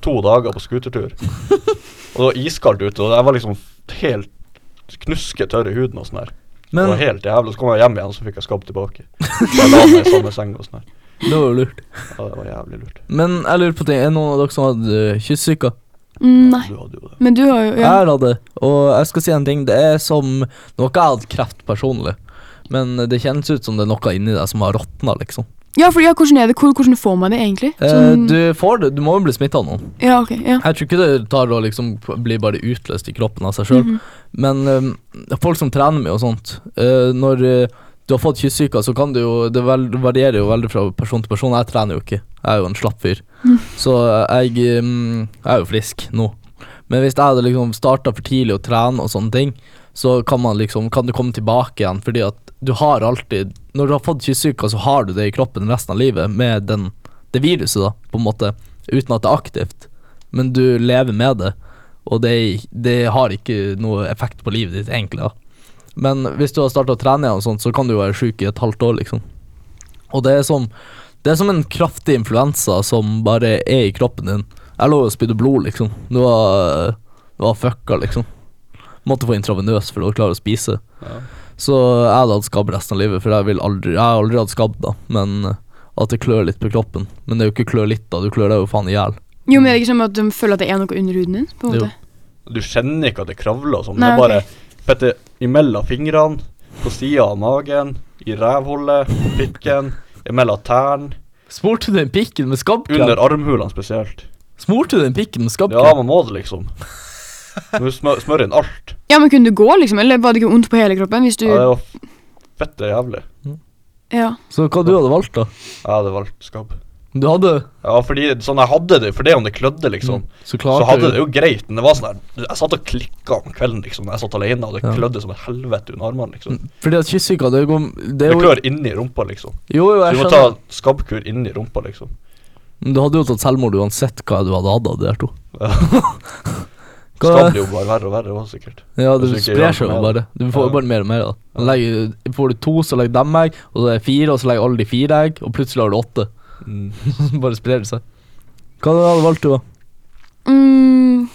C: to dager på scootertur. og det var iskaldt ute, og jeg var liksom helt knusketørr i huden og sånn her. Det
B: Men
C: var helt jævlig. Så kom jeg hjem igjen, så fikk jeg skabb tilbake. Så jeg la meg i samme seng og sånn her.
B: det var jo lurt.
C: Ja, det var jævlig lurt.
B: Men jeg lurer på ting. Er det noen av dere som har hatt uh, kyssesyke?
F: Mm, Nei.
C: Du hadde jo det.
F: Men du har jo
B: Jeg
F: ja.
B: har hatt det, og jeg skal si en ting. Det er som Nå har ikke jeg hatt kreft personlig, men det kjennes ut som det er noe inni deg som har råtna, liksom.
F: ja, for ja, hvordan er det? Hvor, hvordan får man det egentlig?
B: Eh,
F: Sånn-
B: du får det. Du må jo bli smitta av noen.
F: Ja, ok. Ja.
B: Jeg tror ikke det tar å liksom bli bare utløst i kroppen av seg sjøl,
F: Mhm.
B: men eh, folk som trener mye og sånt eh, Når eh, du har fått kyssesyke, så kan det jo Det vel, varierer jo veldig fra person til person. Jeg trener jo ikke. Jeg er jo en slapp fyr.
F: Mhm.
B: Så jeg, mm, jeg er jo frisk nå. Men hvis jeg hadde liksom starta for tidlig å trene og sånne ting, så kan man liksom Kan du komme tilbake igjen, fordi at du har alltid Når du har fått kyssesyke, så har du det i kroppen resten av livet med den, det viruset, da, på en måte. Uten at det er aktivt. Men du lever med det, og det, det har ikke noe effekt på livet ditt, egentlig. Da. Men hvis du har starta å trene igjen, og sånt, så kan du jo være sjuk i et halvt år, liksom. Og det er som Det er som en kraftig influensa som bare er i kroppen din. Jeg lå og spydde blod, liksom. Du var, du var fucka, liksom. Måtte få intravenøs for å klare å spise.
C: Ja.
B: Så jeg hadde hatt skabb resten av livet, for jeg, vil aldri, jeg har aldri hatt skabb, da. Men eh, at det klør litt på kroppen. Men det er jo ikke klør litt, da. Du klør deg jo faen i hjel.
F: Jo, men er det ikke sånn at de føler at det er noe under huden din? på en
B: Jo.
F: måte?
C: Du kjenner ikke at det kravler og sånn. men
F: Nei,
C: Det er bare fette imellom fingrene, på sida av magen, i rævhullet, pikken, imellom tærne,
B: Smurte du den pikken med skabbkrem?
C: under armhulene spesielt.
B: Smurte du den pikken med skabbkrem?
C: Ja, man må det, liksom. Du smør, smør inn alt.
F: Ja, men kunne du gå, liksom? Eller var det ikke vondt på hele kroppen? hvis du...
C: Ja, det var f- fette jævlig.
F: Ja.
B: Så hva du hadde valgt, da?
C: Jeg hadde valgt skabb.
B: Du hadde
C: Ja, fordi sånn jeg hadde det, for det om det klødde, liksom,
B: Så
C: så
B: Mm. klarte
C: hadde
B: du
C: det jo greit, men det var sånn her Jeg satt og klikka om kvelden, liksom, når jeg satt alene, og det
B: Ja.
C: klødde som et helvete under armene, liksom.
B: Fordi at kyssesyka, det går Det
C: Det
B: er jo
C: klør inni rumpa, liksom.
B: Jo, jo,
C: Så
B: jeg
C: du må ta
B: skjønner.
C: skabbkur inni rumpa, liksom.
B: Men du hadde jo tatt selvmord uansett hva du hadde hatt av de der to. Hva-
C: Skabb blir jo bare verre og verre, var det sikkert.
B: Ja, det
C: Hvis du ikke
B: sprer
C: gjør
B: seg
C: noe
B: jo
C: med
B: bare. Du får jo
C: Ja.
B: bare mer og mer. da legger, Får du to, så legger dem egg, og så er det fire, og så legger alle de fire egg, og plutselig har du åtte.
C: Mm.
B: bare sprer det seg. Hva hadde du valgt, du, da?
F: Mm,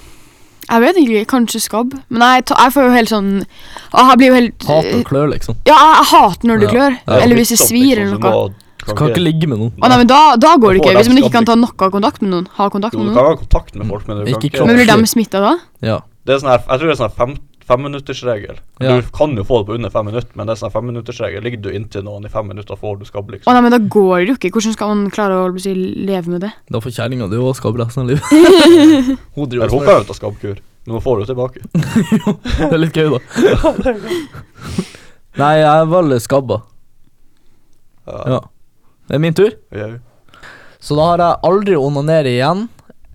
F: Jeg vet egentlig ikke. Kanskje skabb. Men jeg, ta- jeg får jo helt sånn Å, Jeg blir jo helt
B: Hat og klør, liksom.
F: Ja, jeg, jeg hater når det
B: Ja.
F: klør.
B: Ja.
F: Eller hvis det
C: sånn
F: svir
C: liksom
F: eller noe.
B: Kan ikke ligge med noen.
F: Å nei, men da, da går det
C: Da får
F: ikke. Hvis
C: de
F: man ikke
C: skabb,
F: kan ta noe kontakt med noen. Ha kontakt
C: Jo, du
F: med
C: kan ha
F: noen.
C: kontakt med folk, men du kan
B: Ikke
C: ikke
B: kropp.
F: Men blir de smitta da?
B: Ja.
C: Det er sånn her, Jeg tror det er sånn her fem, femminuttersregel.
B: Ja.
C: Du kan jo få det på under fem minutter, men det er sånn her femminuttersregel. Ligger du inntil noen i fem minutter, får du skabb,
F: Å
C: liksom.
F: nei, men da går det jo ikke. Hvordan skal man klare å holdt på å si, leve med det?
B: Da får kjerringa di òg skabb resten av livet. Hun
C: Men
B: driver og
C: hun kan jo ta skabbkur. Nå får du tilbake.
B: Det er litt gøy, da. Nei, jeg er veldig skabba. Ja. Det er min tur.
C: Ja.
B: Så da har jeg aldri onanere igjen.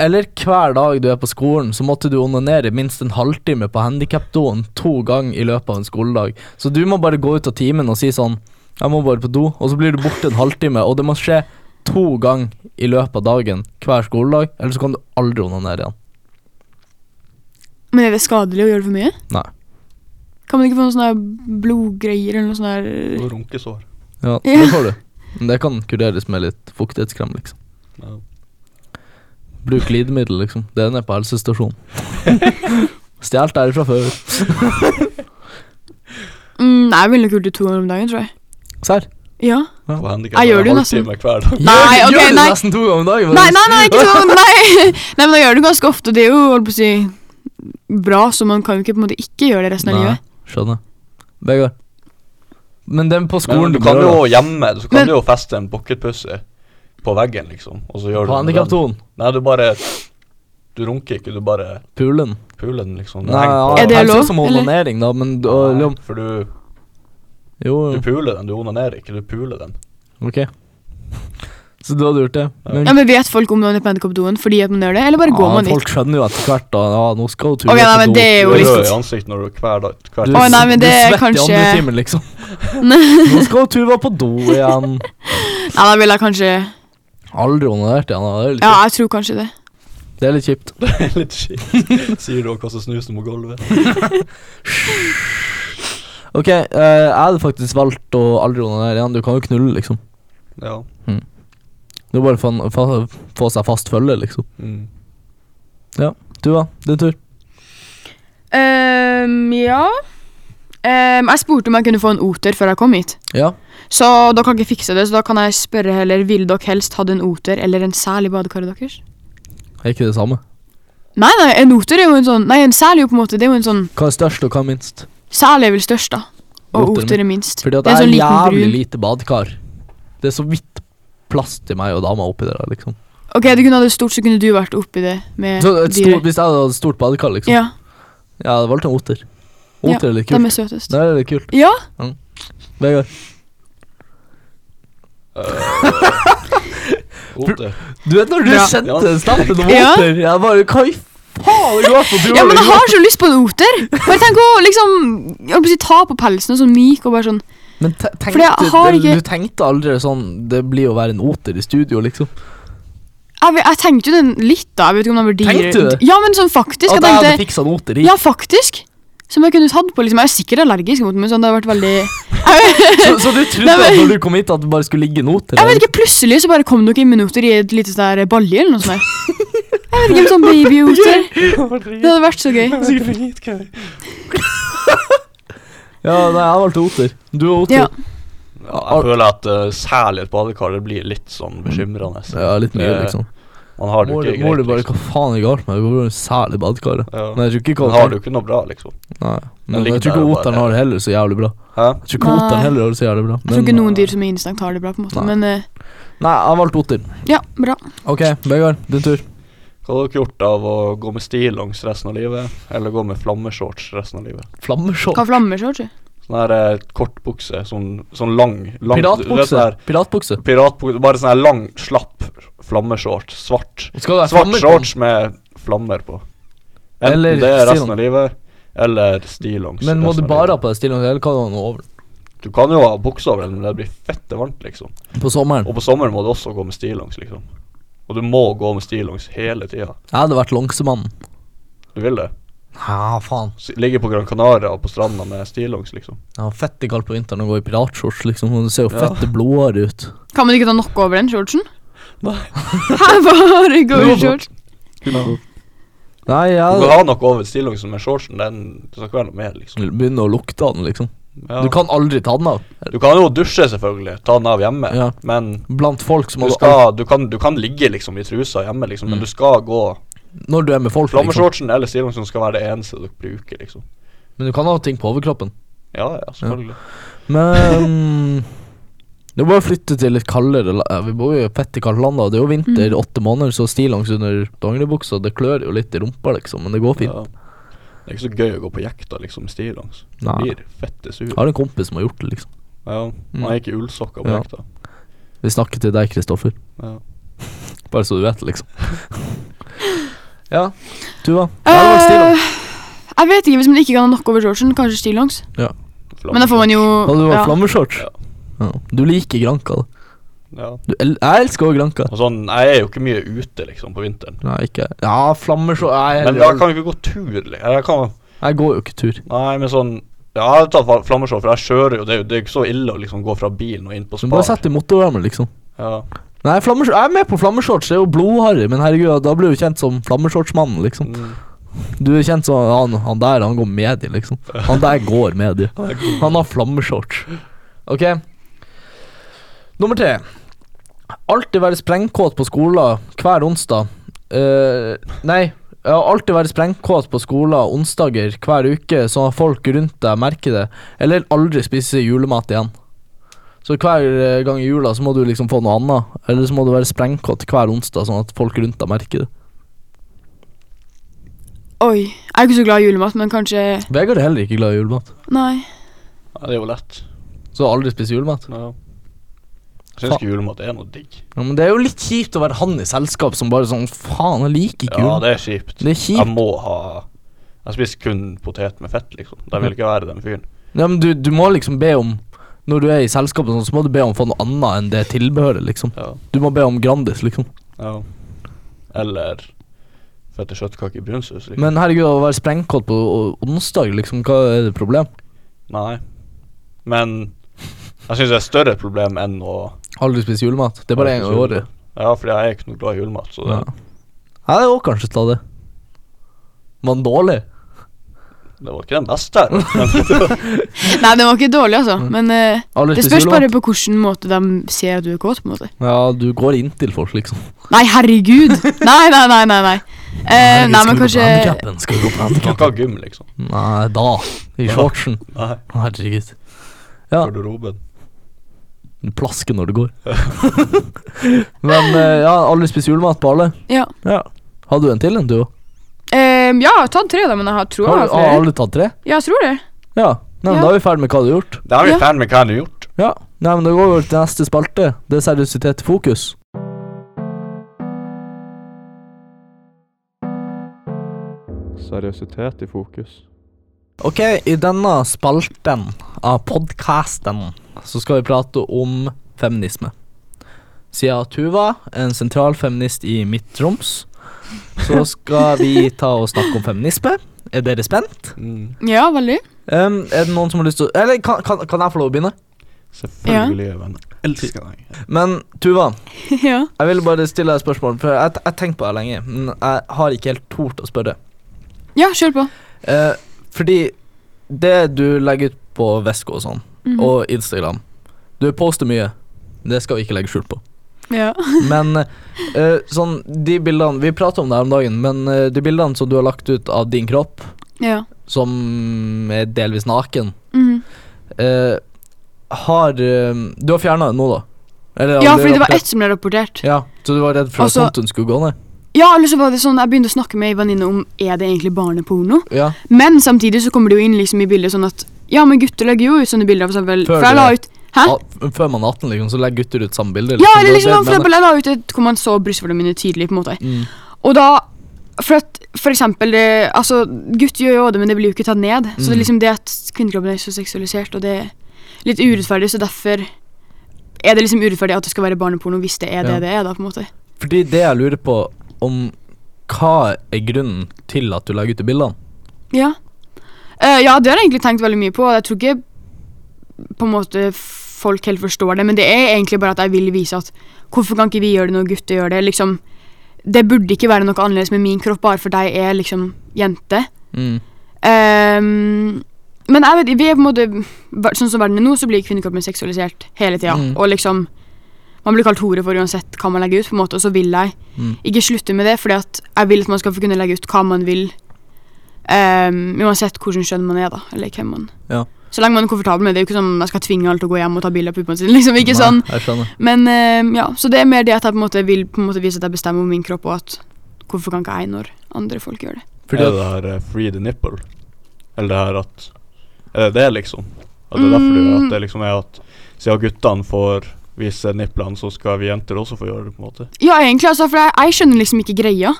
B: Eller hver dag du er på skolen, så måtte du onanere minst en halvtime på handikapdoen to ganger i løpet av en skoledag. Så du må bare gå ut av timen og si sånn Jeg må bare på do, og så blir du borte en halvtime. Og det må skje to ganger i løpet av dagen hver skoledag, eller så kan du aldri onanere igjen.
F: Men er det skadelig å gjøre det for mye?
B: Nei.
F: Kan man ikke få noen sånne her blodgreier eller noe sånn her
C: Og Runkesår.
B: Ja,
F: Ja.
B: det får du. Men det kan kureres med litt fuktighetskrem, liksom.
C: Ja.
B: Bruk glidemiddel, liksom. Det er nede på helsestasjonen. Stjålet derifra før.
F: mm, Nei, jeg ville nok gjort det to ganger om dagen, tror jeg.
B: Serr?
F: Ja.
C: På handicap,
F: Jeg gjør sånn?
C: en
F: det jo
C: halvtime Hver dag.
F: Nei, ok,
B: gjør det
F: nei.
B: nesten to ganger om dagen.
F: Nei,
B: faktisk.
F: nei, nei, ikke sånn! Nei. nei, men da gjør du ganske ofte. Det er jo holdt på å si bra, så man kan jo ikke på en måte ikke gjøre det resten av
B: Nei,
F: livet.
B: Skjønner. Vegard. Men den på skolen
C: Men du kan
B: gjør
C: jo
B: det.
C: hjemme, du
F: Men-
C: kan jo feste en pocketpussy på veggen, liksom. Og så gjør du
B: På
C: det med den.
B: handikaptonen.
C: Nei, du bare Du runker ikke, du bare
B: Pulen.
C: puler den, liksom. Den
B: Nei,
C: henger på-
F: Er det
B: helse
F: lov,
B: som
F: eller?
B: onanering, da, men da,
C: Nei,
B: liksom,
C: For du,
B: Jo,
C: du
B: jo.
C: puler den, du onanerer ikke, du puler den.
B: Ok. Så du hadde gjort det? Men,
F: Ja, men Vet folk om noen er på handikapdoen fordi at man gjør det, eller bare går
B: Ja,
F: man dit?
B: folk skjønner jo etter hvert, da. Ja, nå skal hun
F: Ok, nei, men det er
C: Du
F: jo
C: er
F: litt
C: rød i ansiktet når du hver dag hver
B: Du,
F: Å, nei, men
B: du
F: det er
B: svetter i andre
F: kanskje-
B: timen, liksom. Nå skal Tuva på do igjen.
F: Nei, da ville jeg kanskje
B: Aldri onanert igjen. da. Det er litt,
F: Ja, jeg tror kanskje det.
B: kjipt. det er litt kjipt.
C: Det er litt skitt. Sier du og kaster snusen på gulvet.
B: Ok, eh, jeg hadde faktisk valgt å aldri onanere igjen. Du kan jo knulle, liksom.
C: Ja.
B: Det er bare å få, en- få, få seg fast følge, liksom.
C: Mm.
B: Tuva, din tur.
F: Ehm, ja Ehm, Jeg spurte om jeg kunne få en oter før jeg kom hit.
B: Ja.
F: Så dere kan ikke fikse det, så da kan jeg spørre heller Ville dere helst hatt en oter eller en sel i badekaret deres?
B: Er ikke det samme?
F: Nei, nei, en oter er jo en sånn Nei, en sel er jo på en måte Det er jo en sånn
B: Hva er størst, og hva er minst?
F: Sel er vel størst, da.
B: Oter
F: Og
B: er
F: oter er minst.
B: Fordi at
F: det
B: jeg
F: er en
B: er
F: sånn liten
B: jævlig
F: brun.
B: lite badekar. Det er så vidt plass til meg og dama oppi der, liksom.
F: Ok, du kunne hatt det stort, så kunne du vært oppi det med
B: Så et stort,
F: dyret.
B: hvis jeg hadde hatt et stort badekar, liksom,
F: Ja,
B: jeg hadde valgt en oter. Oter er litt
F: de
B: kult.
F: er søtest.
B: Det er litt kult.
F: Ja,
B: Vegard,
C: Oter.
B: du vet når du
F: Bra.
B: sendte snappen om
F: Ja.
B: oter, jeg bare Hva i faen det går på Tuva?
F: ja men jeg
B: liksom?
F: har så lyst på en oter! Bare tenk å liksom Jeg holdt på å si ta på pelsen og sånn myk og bare sånn
B: Men te-
F: Fordi jeg
B: tenkte,
F: har
B: det-
F: ikke-
B: du tenkte aldri sånn Det blir å være en oter i studio, liksom.
F: Jeg, vet- jeg tenkte jo den litt, da. Jeg vet ikke om den var dyr.
B: Tenkte du det?
F: Ja, men sånn faktisk.
B: At
F: Jeg
B: jeg hadde
F: tenkte,
B: fiksa en oter i.
F: ja, faktisk. Som jeg kunne tatt på. liksom. Jeg er sikkert allergisk mot den, men sånn, det har vært veldig
B: Så, så du trodde
F: Nei, men-
B: at når du kom hit, at det bare skulle ligge en oter
F: Jeg
B: der?
F: vet ikke, Plutselig så bare kom dere i minutter i et lite sånn der balje eller noe sånt. der. Jeg vet ikke om sånn babyoter. Det hadde vært så gøy.
B: Ja, nei, jeg valgte oter. Du er oter.
F: Ja.
C: Ja, jeg føler at uh, særlig et badekar det blir litt sånn bekymrende.
B: Ja, litt mye,
C: Det-
B: liksom.
C: Man har det jo
B: Mor
C: ikke
B: mor
C: greit.
B: di bare
C: Liksom.
B: Hva faen er galt med deg? Hvorfor er du særlig badekaret?
C: Ja.
B: Men jeg tror ikke
C: Man
B: hva-
C: har det jo ikke noe bra, liksom.
B: Nei, men
C: ligger
B: jeg tror
C: der
B: ikke
C: og
B: oteren
C: bare-
B: har det heller så jævlig bra.
C: Hæ?
B: Jeg tror ikke
F: Nei.
B: oteren heller har det så jævlig bra.
F: Jeg tror ikke
B: men-
F: noen dyr som er instinkt, har det bra. på en måte.
B: eh, Nei.
F: Men eh,
B: Nei, jeg valgte oter.
F: ja, bra.
B: Ok, Vegard, din tur.
C: Hva hadde dere gjort av å gå med stillongs resten av livet, eller gå med flammeshorts resten av livet?
B: Flammeskjold.
F: Hva flammer så, tror du?
C: Sånn her eh, kortbukse, sånn, sånn lang, lang du vet
B: Piratbukse.
C: sånn her
B: Piratbukse.
C: Piratbukse, bare sånn her lang, slapp flammeshorts. Svart.
B: Og Skal det være
C: Svart
B: flammer på den?
C: shorts med flammer på. Enten
B: Eller
C: det er resten
B: stillongs.
C: av livet, eller stillongs.
B: Men må
C: resten
B: du
C: av
B: bare ha
C: livet.
B: på deg stillongs, eller kan du ha noe over?
C: Du kan jo ha bukse over den, men det blir fette varmt, liksom.
B: På sommeren.
C: Og på sommeren må du også gå med stillongs, liksom. Og du må gå med stillongs hele tida.
B: Jeg hadde vært longsemannen.
C: Du vil det?
B: Ja, faen.
C: S- Ligge på Gran Canaria og på stranda med stillongs, liksom.
B: Jeg har fette kaldt på vinteren og går i piratshorts, liksom. og Det ser jo
C: Ja.
B: fette blodhår ut.
F: Kan man ikke ta noe over den shortsen?
C: Nei.
F: Her bare går shorts.
B: Nei, jeg
C: Du kan ha noe over stillongsen, men shortsen, den det skal ikke være noe mer, liksom.
B: begynner å lukte av den, liksom.
C: Ja.
B: Du kan aldri ta den av.
C: Du kan jo dusje, selvfølgelig, ta den av hjemme,
B: Ja.
C: men
B: Blant folk som
C: du, skal, du, kan, du kan ligge liksom i trusa hjemme, liksom, men
B: Mm.
C: du skal gå
B: Når du er med folk, liksom.
C: Flammeshortsen eller stillongsen skal være det eneste du bruker, liksom.
B: Men du kan ha ting på overkroppen.
C: Ja, ja, selvfølgelig.
B: Men Det er bare å flytte til litt kaldere la- eh, Vi bor jo i et fett i kaldt land, da. Det er jo vinter, åtte måneder, så stillongs under dongeribuksa. Det klør jo litt i rumpa, liksom, men det går fint.
C: Ja. Det er ikke så gøy å gå på jekta liksom med stillongs. Du
B: Nei.
C: blir fette sur.
B: Jeg har en kompis som har gjort det, liksom.
C: Ja,
B: Mm.
C: han gikk i ullsokker på
B: Ja.
C: jekta.
B: Vi snakker til deg, Kristoffer.
C: Ja.
B: Bare så du vet, liksom. ja. Tuva?
F: Eh, jeg vet ikke, hvis man ikke kan ha nok over shortsen, kanskje stillongs. Men da får man jo
B: Og du
F: ja.
B: var flammeshorts?
C: Ja.
B: Ja. Du liker Granka, da.
C: Ja.
B: Du el jeg elsker òg Granka.
C: Og sånn, jeg er jo ikke mye ute liksom på vinteren.
B: Nei, ikke Ja, flammeshorts jeg,
C: Men da kan jeg ikke gå tur. li- Jeg kan,
B: jeg går jo ikke tur.
C: nei, men sånn Ja, jeg har tatt fla- flammeskjold, for jeg kjører jo. Det er jo det er jo ikke så ille å liksom gå fra bilen og inn på
B: Du må bare
C: spar.
B: sette i motorvarmen, liksom.
C: Ja.
B: Nei, flammeshorts Jeg er med på flammeshorts. Det er jo blodharry, men herregud, da blir du kjent som flammeshortsmannen, liksom.
C: Mm.
B: Du er kjent som han, han der, han går medie, liksom. Han der går medie. Han har flammeshorts. Ok. Nummer tre. Alltid være sprengkåt på skolen hver onsdag. Eh, nei, ja, alltid være sprengkåt på skolen onsdager hver uke, sånn at folk rundt deg merker det. Eller aldri spise julemat igjen. Så hver eh, gang i jula så må du liksom få noe annet. Eller så må du være sprengkåt hver onsdag, sånn at folk rundt deg merker det.
F: Oi. Jeg er ikke så glad i julemat, men kanskje
B: Vegard er heller ikke glad i julemat.
F: Nei.
C: ja, det er jo lett.
B: Så aldri spise julemat?
C: Ja. Jeg syns ikke julemat er noe digg.
B: Ja, men Det er jo litt kjipt å være han i selskap som bare sånn Faen, jeg liker ikke
C: Ja,
B: julemat.
C: det er kjipt.
B: det, er
C: Jeg
B: kjipt.
C: må ha Jeg spiser kun potet med fett, liksom. Da vil jeg ikke være den fyren.
B: Ja, men du, du må liksom be om Når du er i selskap, og sånn, så må du be om å få noe annet enn det tilbehøret, liksom.
C: Ja.
B: Du må be om Grandis, liksom.
C: ja. Eller fette kjøttkake i brunsaus, liksom.
B: Men herregud, å være sprengkåt på o- onsdag, liksom, hva er det problem?
C: Nei. Men jeg syns det er et større problem enn å
B: Aldri spise julemat. Det er bare én gang i året.
C: Ja, fordi jeg er ikke noe glad i julemat, så det,
B: Ja. Jeg er òg kanskje til det. Man dårlig.
C: det var ikke den beste her.
F: Nei, den var ikke dårlig, altså. Men eh,
B: Aldri
F: det
B: spise
F: spørs bare
B: julemat.
F: på hvilken måte de ser at du er kåt. på en måte
B: Ja, du går inntil folk, liksom.
F: Nei, herregud! Nei, nei, nei. nei, nei. Eh, nei, men
B: Herregud, skal
F: kanskje
B: vi gå på handicapen? Skal vi gå på
C: Kan
B: handikappen?
C: ikke ha gym, liksom.
B: Nei, da. I shortsen.
C: Nei.
B: Herregud. Ja.
C: Garderoben.
B: Du plasker når det går. Men eh, ja, aldri spist julemat på alle.
F: Ja,
B: Ja. Har du en til enn du?
F: Ehm, ja jeg har tatt tre, da, men jeg har- tror jeg
B: Har,
F: har
B: du- har
F: flere.
B: alle tatt tre?
F: Ja, jeg tror det.
B: Ja. Nei, men
F: Ja.
B: Da er vi ferdig med hva du har gjort.
C: Da er vi
F: Ja.
C: ferdig med hva han har gjort.
B: Ja. Nei, men Da går vi over til neste spalte. Det er seriøsitet i fokus.
A: Seriøsitet i fokus.
B: Ok, i denne spalten av podcasten så skal vi prate om feminisme. Siden Tuva er en sentral feminist i Midt-Troms, så skal vi ta og snakke om feminisme. Er dere spent?
C: Mm.
F: Ja, veldig.
B: Um, er det noen som har lyst til å Eller kan, kan, kan jeg få lov å begynne?
C: Selvfølgelig, venn. Elsker deg.
B: Men Tuva,
F: ja.
B: jeg ville bare stille deg et spørsmål, for jeg jeg har tenkt på det lenge, men jeg har ikke helt tort å spørre.
F: ja, kjør på.
B: Eh, fordi det du legger ut på Vesko og sånn,
F: Mhm.
B: og Instagram Du poster mye. Det skal vi ikke legge skjul på.
F: Ja.
B: Men eh, sånn, de bildene Vi pratet om det her om dagen, men eh, de bildene som du har lagt ut av din kropp,
F: ja.
B: som er delvis naken,
F: Mhm.
B: eh, har eh, Du har fjerna det nå, da? Eller,
F: ja,
B: har du
F: fordi det var
B: rapportert-
F: ett som ble rapportert.
B: Ja, Så du var redd for at
F: Altså-
B: tomten skulle gå ned?
F: Ja, eller så var det sånn, Jeg begynte å snakke med ei venninne om er det egentlig barneporno.
B: Ja.
F: Men samtidig så kommer det jo inn liksom i bildet sånn at Ja, men gutter legger jo ut sånne bilder. For eksempel,
B: Før
F: for jeg
B: det.
F: la ut Hæ?
B: Ah, f- Før man er 18, liksom, så legger gutter ut samme bilde?
F: Ja,
B: liksom.
F: eller
B: Det-
F: liksom,
B: det-
F: for
B: men-
F: eksempel, jeg la ut et hvor man så brystvortene mine tydelig. på en måte.
B: Mm.
F: Og da For at for eksempel det, altså, Gutt gjør jo det, men det blir jo ikke tatt ned. Så det
B: Mm.
F: er liksom det at kvinnekroppen er så seksualisert, og det er litt urettferdig, så derfor er det liksom urettferdig at det skal være barneporno hvis det er det
B: Ja.
F: det er, da, på en måte.
B: Fordi det jeg lurer på om hva er grunnen til at du legger ut de bildene?
F: Ja. Eh, ja, det har jeg egentlig tenkt veldig mye på. og Jeg tror ikke på en måte folk helt forstår det, men det er egentlig bare at jeg vil vise at hvorfor kan ikke vi gjøre det når gutter gjør det? Liksom, det burde ikke være noe annerledes med min kropp bare fordi jeg er liksom jente.
B: Mm.
F: Ehm, men jeg vet ikke, vi er på en måte ver- Sånn som verden er nå, så blir kvinnekroppen seksualisert hele tida.
B: Mm.
F: Og liksom Man blir kalt hore for uansett hva man legger ut, på en måte, og så vil jeg
B: Mm.
F: ikke slutte med det, fordi at jeg vil at man skal få kunne legge ut hva man vil. ehm, uansett hvordan kjønn man er, da, eller hvem man
B: Ja.
F: Så lenge man er komfortabel med det. Det er jo ikke sånn jeg skal tvinge alle til å gå hjem og ta bilde av puppene sine. liksom, ikke
B: Nei,
F: sånn.
B: Jeg skjønner.
F: Men ehm, ja, så det er mer det at jeg på en måte vil på en måte vise at jeg bestemmer over min kropp, og at hvorfor kan ikke jeg når andre folk gjør det?
B: Fordi
C: er
B: at,
C: det det her eh, free the nipple? Eller det her at Er det det, liksom? At det er derfor du,
F: Mm.
C: at det liksom er at siden guttene får vise nipplene, så skal vi jenter også få gjøre det, på en måte?
F: Ja, egentlig, altså, for jeg, jeg skjønner liksom ikke greia.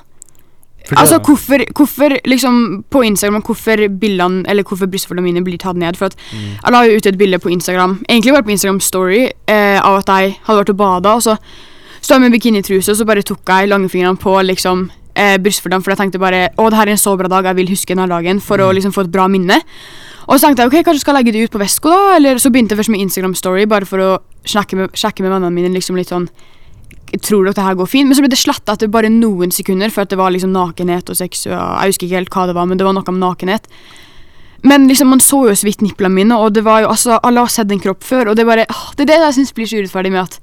B: fordi
F: Altså,
B: at
F: hvorfor, hvorfor liksom på Instagram, hvorfor bildene, eller hvorfor brystvortene mine blir tatt ned? For at jeg la jo ut et bilde på Instagram, egentlig bare på Instagram Story, eh, av at jeg hadde vært og bada, og så stod jeg med bikinitruse, og så bare tok jeg langfingrene på liksom eh, brystvortene, for jeg tenkte bare, å, det her er en så bra dag, jeg vil huske denne dagen, for å liksom få et bra minne. Og så tenkte jeg, ok, kanskje jeg skal legge det ut på Vesko da, eller så begynte jeg først med Instagram Story, bare for å snakke med, sjekke med vennene mine, liksom litt sånn, tror dere det her går fint? Men så ble det sletta etter bare noen sekunder, for at det var liksom nakenhet og sex og Jeg husker ikke helt hva det var, men det var noe om nakenhet. Men liksom, man så jo så vidt niplene mine, og det var jo, altså, alle har sett en kropp før. Og det er bare, ah, det er det jeg syns blir så urettferdig med at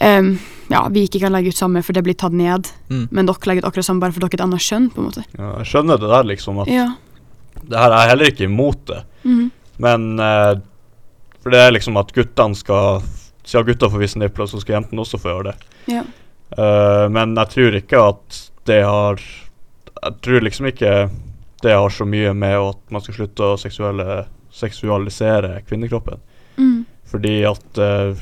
F: ehm, ja, vi ikke kan legge ut samme, for det blir tatt ned.
B: Mm.
F: Men dere legger ut akkurat samme bare for dere er et annet kjønn. på en måte.
C: Ja, jeg skjønner det der, liksom. At
F: Ja.
C: det her er heller ikke imot det.
F: Mhm.
C: Men eh, For det er liksom at guttene skal Siden gutta får vise nipler, så skal jentene også få gjøre det.
F: Ja.
C: Eh, men jeg tror ikke at det har Jeg tror liksom ikke det har så mye med at man skal slutte å seksuelle, seksualisere kvinnekroppen.
F: Mm.
C: Fordi at eh,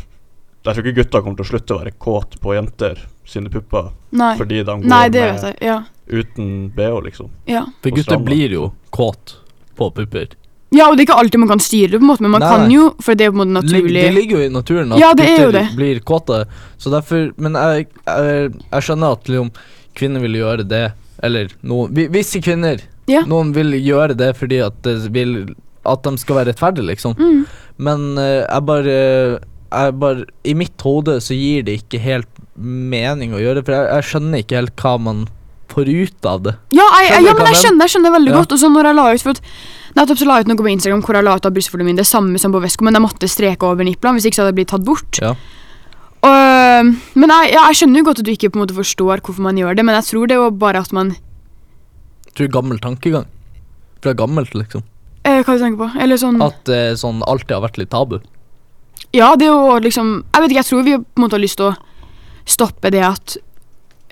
C: Jeg tror ikke gutta kommer til å slutte å være kåt på jenter sine pupper
F: Nei.
C: fordi de går
F: Nei, det vet
C: med
F: jeg. Ja.
C: uten bh, liksom.
F: ja.
B: For
C: på
B: gutter
C: stranda.
B: blir jo kåt på pupper.
F: Ja, og det er ikke alltid man kan styre det, på en måte, men man
B: Nei,
F: kan
B: nei.
F: jo, for det er jo på en måte
B: Lig-
F: naturlig.
B: Det ligger jo i naturen at
F: Ja, det er jo
B: gutter
F: det.
B: blir kåte. Så derfor Men jeg, jeg, jeg skjønner at liksom, kvinner vil gjøre det. Eller noen vi- Visse kvinner.
F: Ja.
B: Noen vil gjøre det fordi at, det vil, at de skal være rettferdige, liksom.
F: Mm.
B: Men eh, jeg bare jeg bare, I mitt hode så gir det ikke helt mening å gjøre det, for jeg, jeg skjønner ikke helt hva man får ut av det.
F: Ja, jeg,
B: Skjønner du
F: ja, men
B: hva
F: jeg
B: jeg
F: skjønner, jeg skjønner veldig
B: Ja.
F: godt. Og så når jeg la ut for at, Nettopp så la jeg ut noe på Instagram hvor jeg la ut av brystvortene mine. Det samme som på Vesko, men jeg måtte streke over niplene. Hvis ikke så hadde jeg blitt tatt bort.
B: Ja.
F: Og, men jeg, ja, jeg skjønner jo godt at du ikke på en måte forstår hvorfor man gjør det, men jeg tror det er jo bare at man
B: Tror gammel tankegang. Fra gammelt, liksom.
F: eh, Hva du tenker på? Eller sånn
B: At det er sånn alltid har vært litt tabu.
F: Ja, det er jo liksom Jeg vet ikke, jeg tror vi på en måte har lyst til å stoppe det at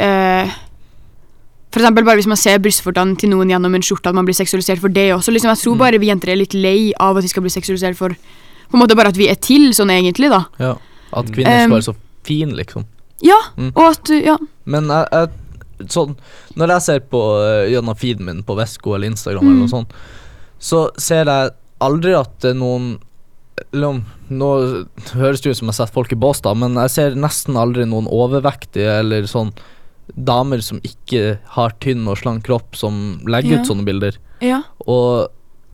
F: eh, For eksempel bare hvis man ser brystvortene til noen gjennom en skjorte, at man blir seksualisert for det også. Liksom, jeg tror
B: Mm.
F: bare vi jenter er litt lei av at vi skal bli seksualisert for På en måte bare at vi er til sånn egentlig, da.
B: At kvinner
F: Um,
B: skal være så fine, liksom.
F: Ja,
B: Mm.
F: og at Ja.
B: Men jeg, jeg sånn, Når jeg ser på eh, gjennom feeden min på Vesko eller Instagram,
F: Mm.
B: eller noe sånt, så ser jeg aldri at det er noen liksom, Nå høres det ut som jeg setter folk i bås, da, men jeg ser nesten aldri noen overvektige eller sånn damer som ikke har tynn og slank kropp, som legger
F: Ja.
B: ut sånne bilder.
F: ja.
B: Og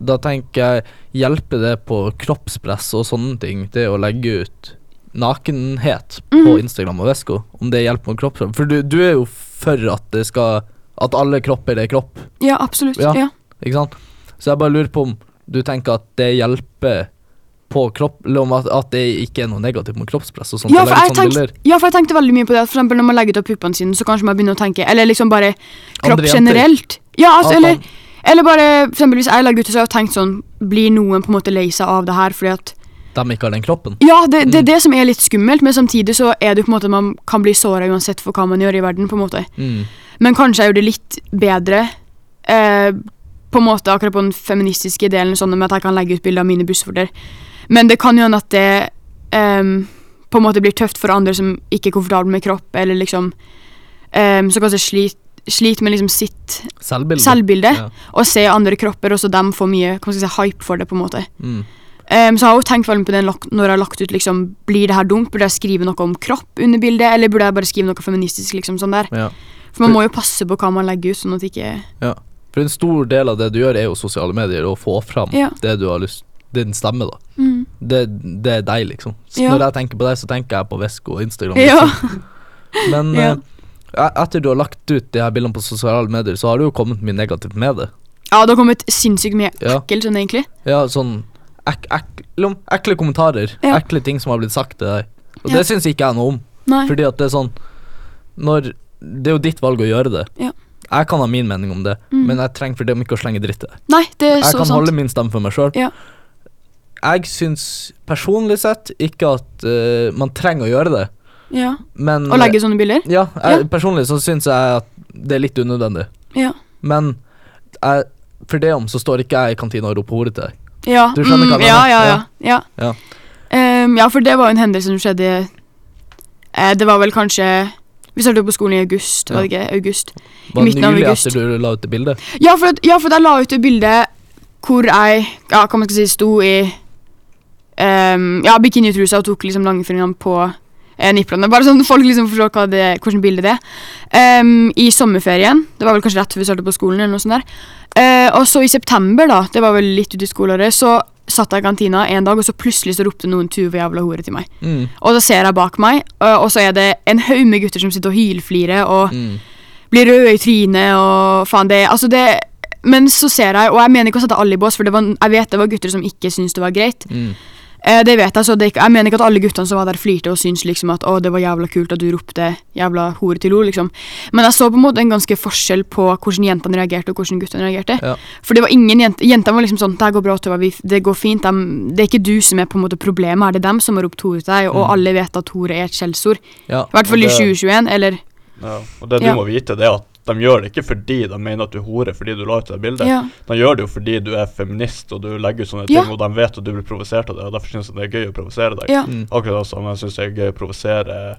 B: da tenker jeg Hjelper det på kroppspress og sånne ting, det å legge ut nakenhet på
F: Mhm.
B: Instagram og Vesko? Om det hjelper på kroppspress? For du, du er jo for at det skal At alle kropper er kropp,
F: Ja, absolutt.
B: Ja.
F: Ja. ja.
B: ikke sant? Så jeg bare lurer på om du tenker at det hjelper på kropp Eller om at, at det ikke er noe negativt med kroppspress og sånt? sånn å
F: for
B: legge
F: jeg
B: ut sånne
F: tenkte,
B: bilder?
F: ja, for jeg tenkte veldig mye på det. at For eksempel når man legger ut av puppene sine, så kanskje man begynner å tenke Eller liksom bare kropp
B: Andre jenter.
F: generelt. Ja, altså,
B: At
F: eller
B: man-
F: Eller bare, for eksempel hvis jeg legger ut så har jeg tenkt sånn Blir noen på en måte lei seg av det her fordi at
B: de ikke har den kroppen?
F: Ja, det,
B: Mm.
F: det er det som er litt skummelt, men samtidig så er det jo på en måte at man kan bli såra uansett for hva man gjør i verden, på en måte.
B: Mm.
F: Men kanskje er jo det litt bedre eh, på en måte akkurat på den feministiske delen, sånn med at jeg kan legge ut bilder av mine bussforter. Men det kan jo hende at det ehm, på en måte blir tøft for andre som ikke er komfortable med kropp, eller liksom ehm, Som kanskje sliter slit med liksom sitt
B: Selvbilde.
F: selvbilde,
B: Ja.
F: og se andre kropper, og så dem får mye hva skal jeg si, hype for det, på en måte.
B: Mm.
F: Ehm, så jeg har jo tenkt veldig mye på den lak- når jeg har lagt ut liksom, Blir det her dumt? Burde jeg skrive noe om kropp under bildet, eller burde jeg bare skrive noe feministisk? liksom sånn der
B: Ja.
F: For man må jo passe på hva man legger ut, sånn at ikke
B: For en stor del av det du gjør, er jo sosiale medier, å få fram
F: Ja.
B: det du har lyst Din stemme, da.
F: mm.
B: det, det er deg, liksom. Så
F: Ja.
B: Når jeg tenker på deg, så tenker jeg på Vesko og Instagram.
F: Ja.
B: Liksom. Men
F: Ja.
B: eh, e- etter du har lagt ut de her bildene på sosiale medier, så har du jo kommet mye negativt med det.
F: Ja, det har kommet sinnssykt mye
B: Ja.
F: ekkel sånn, egentlig.
B: Ja, sånn ek, ek, lom- ekle kommentarer.
F: Ja.
B: Ekle ting som har blitt sagt til deg. Og
F: Ja.
B: det syns ikke jeg noe om.
F: Nei.
B: Fordi at det er sånn Når Det er jo ditt valg å gjøre det.
F: Ja.
B: Jeg kan ha min mening om det,
F: Mm.
B: men jeg trenger for dem ikke å slenge dritt i det.
F: Nei, det er
B: Jeg
F: så
B: kan
F: sant.
B: holde min stemme for meg sjøl.
F: Ja.
B: Jeg syns personlig sett ikke at eh, man trenger å gjøre det,
F: Ja.
B: men
F: Å legge sånne bilder?
B: Ja, jeg,
F: Ja.
B: personlig så syns jeg at det er litt unødvendig.
F: Ja.
B: Men jeg, for det om så står ikke jeg i kantina og roper hore til deg.
F: Ja. Mm,
B: Du skjønner hva jeg
F: ja,
B: mener?
F: ja, ja. ja.
B: Ja.
F: Ehm, ja, for det var jo en hendelse som skjedde eh, Det var vel kanskje Vi startet jo på skolen i august, var det ikke? August.
B: Var det
F: midten av
B: nylig
F: august.
B: etter du la ut det bildet?
F: Ja, for, at, ja, for at jeg la ut et bilde hvor jeg ja, hva man skal si, sto i ehm, ja, bikinitrusa og tok liksom langfingrene på eh, niplene. Bare sånn at folk liksom forstår hva det, hvordan bilde det er. Ehm, I sommerferien. Det var vel kanskje rett før vi startet på skolen. eller noe sånt der. Eh, og så i september, da, det var vel litt ut i skoleåret, så satt jeg i kantina en dag, og så plutselig så ropte noen 'tuve jævla hore' til meg.
B: Mm,
F: Og så ser jeg bak meg, og og så er det en haug med gutter som sitter og hylflirer og
B: mm.
F: blir røde i trynet og faen det Altså det Men så ser jeg, og jeg mener ikke å sette alle i bås, for det var, jeg vet det var gutter som ikke syntes det var greit.
B: Mm.
F: Eh, det vet jeg, så det, er ikke- jeg mener ikke at alle guttene som var der, flirte og syntes liksom at å, det var jævla kult at du ropte jævla hore til henne, liksom. Men jeg så på en måte en ganske forskjell på hvordan jentene reagerte og hvordan guttene reagerte.
B: Ja.
F: For det var ingen jenter Jentene var liksom sånn Det her går bra, Tova, vi- det går fint. dem- det er ikke du som er på en måte problemet her, det er dem som har ropt hore til deg, og alle vet at hore er et skjellsord.
B: Mm. Ja.
F: I hvert fall i
C: og det-
F: 2021, eller
C: Ja. Og det du
F: Ja.
C: må vite, det er at de gjør det ikke fordi de mener at du er hore fordi du la ut det bildet.
F: Ja.
C: De gjør det jo fordi du er feminist og du legger ut sånne
F: Ja.
C: ting, og de vet at du blir provosert av det, og derfor syns de det er gøy å provosere deg.
F: Ja.
B: Mm.
C: Akkurat som jeg syns det er gøy å provosere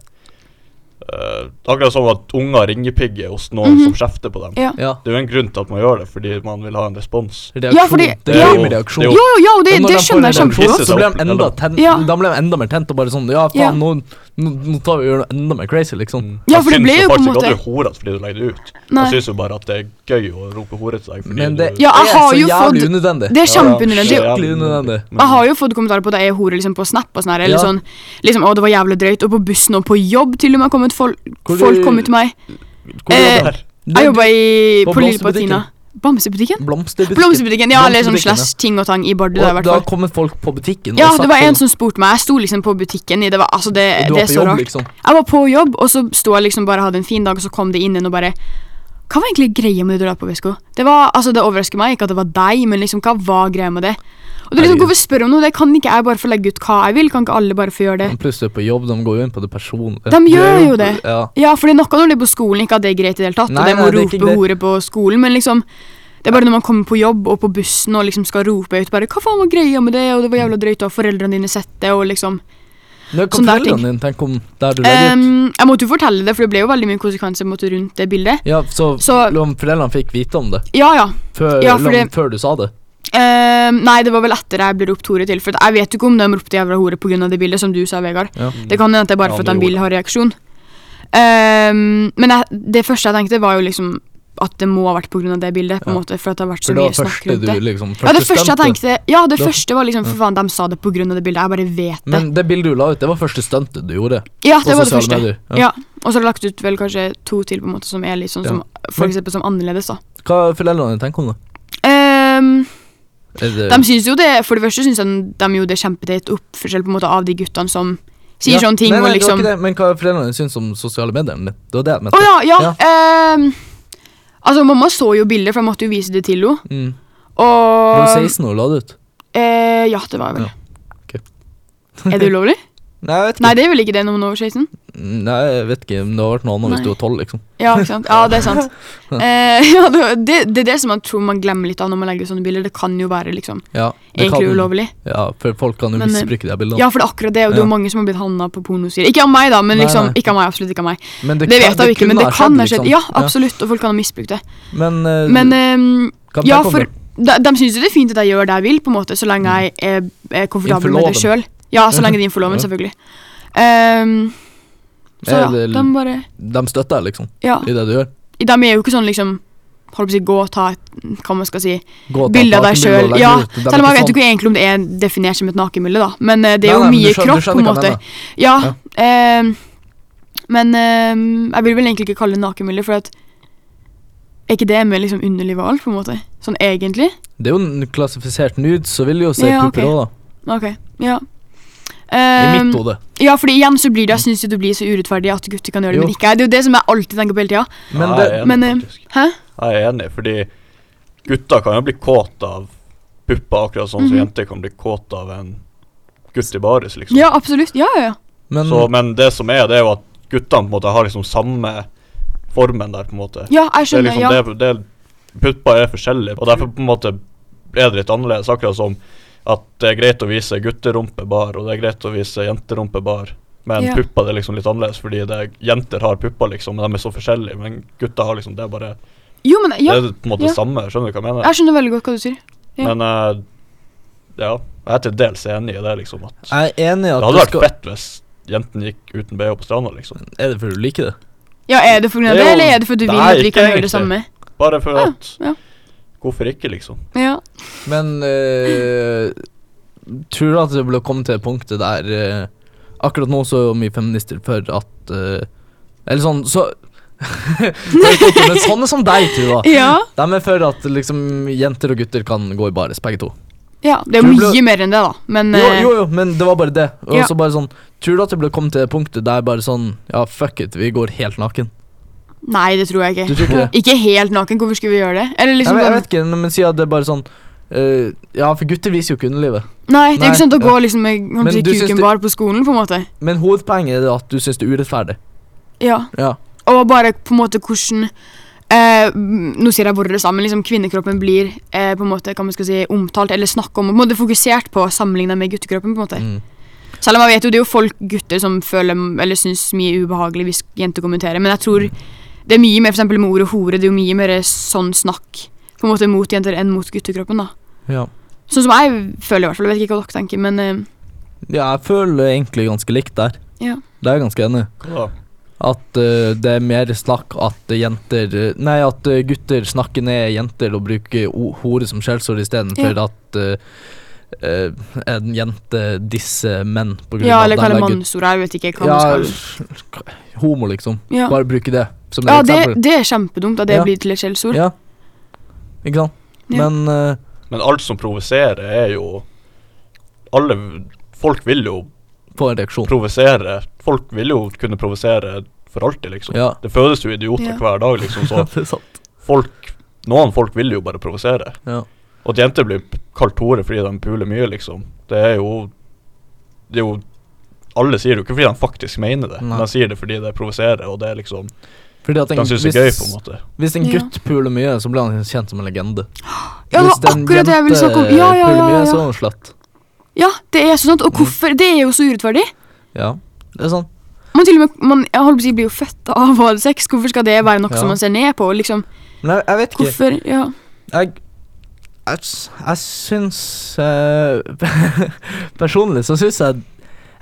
C: eh, Akkurat som at unger ringepigger hos noen
F: Mhm.
C: som kjefter på dem.
F: Ja.
B: Ja.
C: Det er jo en grunn til at man gjør det, fordi man vil ha en respons.
B: Reaksjon.
F: Ja, fordi-
B: det er
F: ja.
B: jo med reaksjon.
C: Det er
F: Jo, jo, jo, det,
B: Og når
F: det
B: de får
F: skjønner jeg
B: den
C: kjempegodt.
B: reaksjonen, Så ble de enda,
C: Eller-
B: ten,
F: Ja.
B: de ble enda mer tent og bare sånn Ja,
F: Ja.
B: faen, nå, nå, nå tar vi og gjør det enda mer crazy, liksom.
F: Ja, for det ble jo på
C: Jeg syns
F: en
C: jo faktisk
F: måte
C: ikke at du er horete fordi du legger det ut.
F: Nei.
C: Jeg syns jo bare at det er gøy å rope hore til deg fordi
B: Men det
C: du
F: Ja, jeg
B: er
F: har
B: så
F: jo
B: jævlig
F: fått-
B: unødvendig.
F: Det er kjempeunødvendig.
C: Ja, ja.
B: Skikkelig unødvendig.
F: Jeg har jo fått kommentarer på at jeg er hore liksom, på Snap. og sånn her, eller
B: Ja.
F: sånn, liksom, 'Å, det var jævlig drøyt.' Og på bussen og på jobb til og med har kommet folk,
B: Hvor
F: folk
B: du-
F: kommet til meg.
B: Hvor
F: Eh,
B: jobber du?
F: Jeg jobba i
B: på
F: på Lille
B: blomsterbutikken.
F: Patina. Bamsebutikken?
B: Blomsterbutikken.
F: Blomsterbutikken, ja, eller sånn
B: Blomsterbutikken, ja.
F: slash ting og tang i Bardu.
B: Og
F: der, i hvert
B: da har
F: fall.
B: kommet folk på butikken
F: Ja,
B: og
F: det
B: sagt
F: var en
B: sånn,
F: som spurte meg. Jeg sto liksom på butikken i det var, altså det,
B: Du
F: det
B: var
F: er
B: på
F: så
B: jobb,
F: rart.
B: liksom.
F: Jeg var på jobb, og så sto jeg liksom bare og hadde en fin dag, og så kom det inn en og bare Hva var egentlig greia med det du la på Vesko? Det var, altså det overrasker meg ikke at det var deg, men liksom, hva var greia med det? Og det er liksom,
B: Herregud.
F: Hvorfor spør om noe? Det kan ikke jeg bare få legge ut hva jeg vil? Kan ikke alle bare få gjøre det?
B: Men pluss du er på jobb, de går jo inn på det personlige.
F: De gjør
B: er
F: jo det.
B: Ja.
F: Ja, for det er noe når det er på skolen, ikke at det er greit i det hele tatt.
B: Nei,
F: og det med
B: nei,
F: å
B: det er ikke
F: rope
B: det.
F: hore på skolen, men liksom Det er bare når man kommer på jobb og på bussen og liksom skal rope ut bare 'Hva faen var greia med det?' og 'Det var jævla drøyt', og 'Foreldrene dine sett det', og liksom
B: Nå
F: Sånn
B: kan
F: der ting.
B: foreldrene dine tenke om der du legger ut.
F: Ehm, Jeg måtte jo fortelle det, for det ble jo veldig mye konsekvenser på en måte, rundt det bildet.
B: Ja, så,
F: så-
B: om foreldrene fikk vite om det
F: Ja, ja.
B: før,
F: Ja, for
B: lang-
F: det-
B: før du sa det.
F: Ehm, nei, det var vel etter jeg ble ropt hore til. For at jeg vet jo ikke om de ropte jævla hore pga. det bildet, som du sa, Vegard.
B: Ja.
F: Det kan hende at det er bare
C: Ja,
F: for at
C: det
F: de vil
C: gjorde
F: ha reaksjon. Ehm, men jeg, det første jeg tenkte, var jo liksom at det må ha vært pga. det bildet. på en
B: Ja.
F: måte, For at det har vært
B: For
F: så
B: det
F: mye
B: var
F: snakk
B: første
F: rundt
B: du
F: det.
B: liksom
F: Ja, det første jeg
B: stuntet.
F: tenkte Ja, det
B: Da-
F: første var liksom For faen, de sa det pga. det bildet. Jeg bare vet det.
B: Men det bildet du la ut, det var første stuntet du gjorde.
F: Ja,
B: på
F: det var det
B: sosiale
F: første.
B: medier, ja.
F: Ja. Og så har jeg lagt ut vel kanskje to til på en måte som er litt sånn som For
B: Men-
F: eksempel som annerledes, da.
B: Hva foreldrene dine tenker om det?
F: Ehm,
B: Er det
F: de syns jo det For det første syns de, de jo det er kjempeteit oppførsel på en måte av de guttene som sier
B: Ja.
F: sånne ting
B: nei, nei,
F: og
B: det var
F: liksom
B: ikke det. Men hva foreldrene dine syns om sosiale medier? men Det var det jeg
F: Å
B: mente.
F: ja, ja. ehm, altså, mamma så jo bildet, for jeg måtte jo vise det til henne.
B: Mm. Du var
F: Og
B: 16 år og la det ut.
F: eh, Ja, det var jeg vel.
B: Ja, ok.
F: er det ulovlig?
B: Nei, jeg vet ikke. Mm,
F: Nei, det er vel ikke det når man er over 16?
B: Nei, jeg vet ikke. Men det har vært noe annet
F: Nei.
B: hvis du var 12, liksom.
F: Ja, ikke sant? Ja, det er sant. Eh, ja, det, det, det er det som man tror man glemmer litt av når man legger ut sånne bilder. Det kan jo være liksom,
B: Ja, det
F: egentlig
B: kan-
F: ulovlig.
B: Ja, for folk kan jo
F: Men, eh,
B: misbruke de bildene.
F: Ja, for det er akkurat det, og det er jo
B: Ja.
F: mange som har blitt handla på pornosider. Ikke av meg, da, men
B: Nei,
F: liksom,
B: nei.
F: ikke av meg, absolutt ikke av meg.
B: Men
F: Det vet jeg jo ikke, men det kan ha skjedd. liksom. Ja,
B: absolutt.
F: absolutt, og folk kan ha misbrukt det.
B: liksom. Men, eh,
F: Men ehm,
B: hva tenker
F: ja,
B: du om
F: for
B: det?
F: de, de syns jo det er fint at jeg gjør det jeg vil, på en måte, så lenge jeg er, er
B: Innenfor
F: komfortabel med det
B: loven.
F: sjøl. Ja, så lenge det er innenfor loven,
B: Ja.
F: selvfølgelig. Ehm, så
B: Er
F: ja,
B: det-
F: de bare
B: De støtter deg, liksom,
F: Ja.
B: i det du gjør.
F: De er jo ikke sånn liksom Holdt på å si gå og ta et Hva man skal si.
B: Gå og ta
F: bilde av deg
B: nakenbilder og
F: sjøl.
B: legge
F: Ja,
B: ut. De er
F: selv om jeg
B: ikke
F: vet jo
B: sånn-
F: ikke egentlig om det er definert som et nakenbilde, da. Men eh, det
B: Nei,
F: er jo
B: nei, men du
F: mye
B: skjønner- du
F: kropp,
B: skjønner
F: på en
B: hva jeg
F: måte.
B: mener.
F: Ja.
B: Ja.
F: ehm, Men ehm, jeg vil vel egentlig ikke kalle det nakenbilder, for at er ikke det med liksom underlivet og alt, på en måte? Sånn egentlig?
B: Det er jo en klassifisert nude, så vil de jo se
F: Ja,
B: pupper
F: ok.
B: òg,
F: Ok, ja.
B: da. I
F: Ehm,
B: mitt hode.
F: ja, fordi igjen så blir det, jeg synes jo det blir så urettferdig at gutter kan gjøre det,
B: Jo.
F: men ikke jeg. Det er jo det som jeg alltid tenker på hele tida.
B: Men
C: Ja,
B: det,
C: jeg er enig,
F: men, eh,
C: faktisk.
F: hæ?
C: Jeg er enig, fordi gutter kan jo bli kåt av pupper, akkurat sånn som
F: Mhm.
C: jenter kan bli kåt av en gutt i baris, liksom.
F: Ja, absolutt. Ja, ja, ja.
B: men
C: Så, men det som er, det er jo at guttene på en måte har liksom samme formen der, på en måte.
F: Ja, jeg
C: Det er
F: skjønner.
C: liksom
F: ja.
C: det, det Pupper er forskjellige, og derfor på en måte er det litt annerledes. Akkurat som at det er greit å vise gutterumpe bar, og det er greit å vise jenterumpe bar. Men
F: Ja.
C: pupper det er liksom litt annerledes, fordi det er, jenter har pupper, liksom, men de er så forskjellige. Men gutter har liksom Det er bare
F: Jo, men ja,
C: Det er på en måte
F: ja.
C: det samme, skjønner du hva jeg mener?
F: jeg skjønner veldig godt hva du sier. ja.
C: Men eh, ja, jeg er til dels enig i det, liksom. At det
B: jeg er enig i at
C: hadde
B: du
C: vært
B: skal
C: fett hvis jentene gikk uten BH på stranda, liksom.
B: Er det fordi du liker det?
F: Ja, Er det pga.
C: Det
F: det,
C: er jo-
F: eller er det fordi du vil
C: Nei,
F: at vi
C: ikke
F: kan gjøre
C: egentlig.
F: det samme?
C: Bare for
F: Ja,
C: at
F: Ah, ja.
C: Hvorfor ikke, liksom?
F: Ja.
B: Men eh, tror du at det ble kommet til det punktet der eh, Akkurat nå så er jo mye feminister for at eh, Eller sånn, så Men sånne som deg, Tuva,
F: ja.
B: de er for at liksom jenter og gutter kan gå i baris, begge to.
F: Ja, det er
B: Tror du
F: mye
B: ble-
F: mer enn det, da. Men
B: Jo,
F: eh,
B: jo, jo, men det var bare det. Og
F: Ja.
B: så bare sånn Tror du at det ble kommet til det punktet der bare sånn Ja, fuck it, vi går helt naken?
F: nei, det tror jeg
B: Du
F: ikke.
B: tror ikke det?
F: Ikke helt naken, hvorfor skulle vi gjøre det? Eller
B: Nei,
F: liksom
B: men jeg
F: sånn
B: vet ikke, men si at det er bare sånn eh, Ja, for gutter viser jo ikke underlivet.
F: Nei, det er
B: Nei,
F: ikke sant å
B: ja.
F: gå liksom med kan
B: Men
F: man si,
B: du syns
F: kuken
B: det-
F: bar på skolen, på en måte.
B: Men hovedpoenget er det at du syns det er urettferdig.
F: Ja.
B: Ja.
F: Og bare på en måte hvordan eh, Nå sier jeg vår sammen, liksom kvinnekroppen blir eh, på en måte, kan man skal si, omtalt eller snakket om, på en måte fokusert på sammenlignet med guttekroppen, på en måte.
B: Mm.
F: Selv om jeg vet jo det er jo folk, gutter, som føler eller syns mye ubehagelig hvis jenter kommenterer, men jeg tror
B: Mm.
F: det er mye mer for eksempel med ordet hore, det er jo mye mer sånn snakk på en måte mot jenter enn mot guttekroppen, da.
B: Ja.
F: Sånn som jeg føler i hvert fall, jeg vet ikke hva dere tenker, men eh,
B: Ja, jeg føler egentlig ganske likt der.
F: Ja.
B: Det er jeg ganske enig i.
C: Hva da?
B: At eh, det er mer snakk at jenter eh, Nei, at eh, gutter snakker ned jenter og bruker o- hore som skjellsord istedenfor
F: Ja.
B: at eh, eh, en jente disser menn på grunn
F: ja,
B: av
F: eller
B: at
F: kalle
B: de legger ut-
F: mannsord, jeg vet ikke hva man skal
B: Ja, homo, liksom.
F: Ja,
B: Bare bruke det som et
F: ja det,
B: eksempel.
F: det er kjempedumt at det
B: Ja.
F: blir til et skjellsord.
B: Ja. Ikke sant?
F: Ja.
B: Men eh,
C: Men alt som provoserer, er jo Alle Folk vil jo
B: få en reaksjon.
C: provosere. Folk vil jo kunne provosere for alltid, liksom.
B: Ja.
C: Det fødes jo idioter
F: Ja.
C: hver dag, liksom, så
B: det er sant.
C: folk Noen folk vil jo bare provosere.
B: Ja.
C: Og at jenter blir p- kalt hore fordi de puler mye, liksom, det er jo Det er jo Alle sier det jo ikke fordi de faktisk mener det,
B: Nei.
C: de sier det fordi det provoserer, og det er liksom
B: Fordi at en,
C: De syns det er gøy, på en måte.
B: Hvis en
F: Ja.
B: gutt puler mye, så blir han kjent som en legende.
F: Ja, det
B: Hvis
F: var
B: en
F: akkurat det jeg ville
B: jente
F: snakke om. Ja, ja, ja,
B: puler mye,
F: ja,
B: så
F: ja.
B: er hun slett.
F: ja det er sånn. at-
B: Mm.
F: Og hvorfor? Det er jo så urettferdig.
B: Ja, det er sant.
F: Man, til og med, man jeg holdt på å si, blir jo født av å ha sex. Hvorfor skal det være noe
B: Ja.
F: som man ser ned på? Liksom,
B: Men jeg, jeg vet ikke.
F: hvorfor? Ja.
B: Jeg, jeg, s- jeg syns eh, Personlig så syns jeg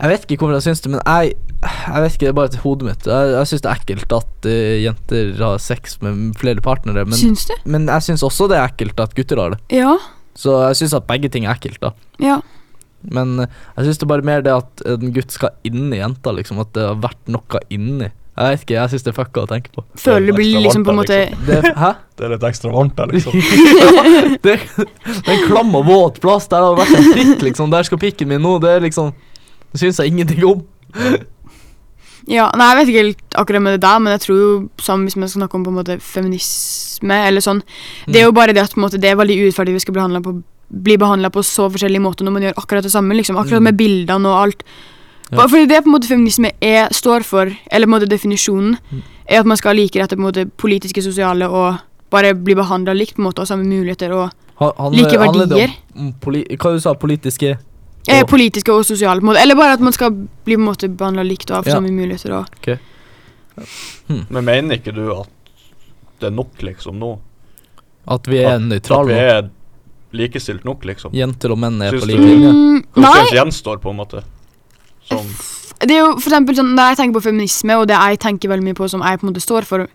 B: Jeg vet ikke hvorfor jeg syns det, men jeg Jeg vet ikke, det er bare til hodet mitt. Jeg, jeg syns det er ekkelt at eh, jenter har sex med flere partnere, men,
F: Syns du?
B: men jeg syns også det er ekkelt at gutter har det.
F: Ja.
B: Så jeg syns at begge ting er ekkelt, da.
F: Ja.
B: Men eh, jeg syns det er bare mer det at en gutt skal inni jenta, liksom. At det har vært noe inni. Jeg vet ikke, jeg syns det er fucka å tenke på.
F: Føler det blir
C: ekstra
F: liksom
C: varmt
F: på en måte
C: der,
B: Det, hæ?
C: Det er litt ekstra varmt der, liksom.
B: Det, det er en klam og våt plass. Der har det vært en prikk, liksom. Der skal pikken min nå. Det er liksom Det syns jeg ingenting om.
F: Ja, nei, jeg vet ikke helt akkurat med det der, men jeg tror jo, som hvis man skal snakke om på en måte feminisme eller sånn, det er jo bare det at på en måte, det er veldig urettferdig vi skal bli handlet på, bli behandlet på så forskjellige måter når man gjør akkurat det samme, liksom, akkurat
B: Mm.
F: med bildene og alt.
B: Ja.
F: Fordi det på en måte feminisme er, står for, eller på en måte definisjonen, er at man skal ha like rette på en måte politiske, sosiale og bare bli behandlet likt på en måte, og samme muligheter og
B: Ha- handler-
F: Like
B: handler det om-
F: verdier.
B: om poli, hva du sa politiske
F: eh,
B: Og-
F: politiske og sosiale på en måte, eller bare at man skal bli på en måte behandlet likt og ha
B: Ja.
F: samme muligheter og
C: Men mener ikke du at det er nok, liksom, nå?
B: At vi er
C: At vi
B: nøytrale. nå.
C: er likestilt nok, liksom?
B: Jenter og menn er
C: Syns
B: på
C: du-
B: lik linje.
F: Mm,
C: Hva
F: nei,
C: slags gjenstår, på en måte? Som
F: det er jo for eksempel sånn, Når jeg tenker på feminisme, og det jeg tenker veldig mye på som jeg på en måte står for eh,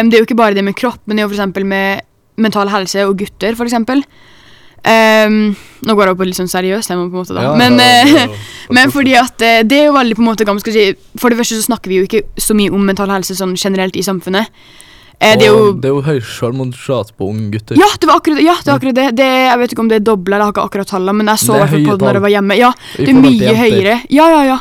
F: em, Det er jo ikke bare det med kropp, men det er jo for eksempel med mental helse og gutter, for eksempel. Ehm, nå går jeg over på litt sånn seriøst tema, på en måte, da.
C: Ja,
F: men,
C: ja, ja,
F: eh,
C: det er jo-
F: men fordi at eh, det er jo veldig på en måte hva man skal si For det første så snakker vi jo ikke så mye om mental helse sånn generelt i samfunnet. Eh, det er jo
B: Og det er jo høy selvmordsrat på unge gutter.
F: ja, det var akkurat, ja, det, var akkurat det. det. Jeg vet ikke om det er dobla, eller jeg har ikke akkurat tallene, men jeg så
B: Det er
F: i hvert fall
B: høye
F: på det når
B: tall.
F: jeg var hjemme. Ja,
B: I
F: det er
B: forhold til
F: mye
B: jenter.
F: høyere. Ja, ja, ja.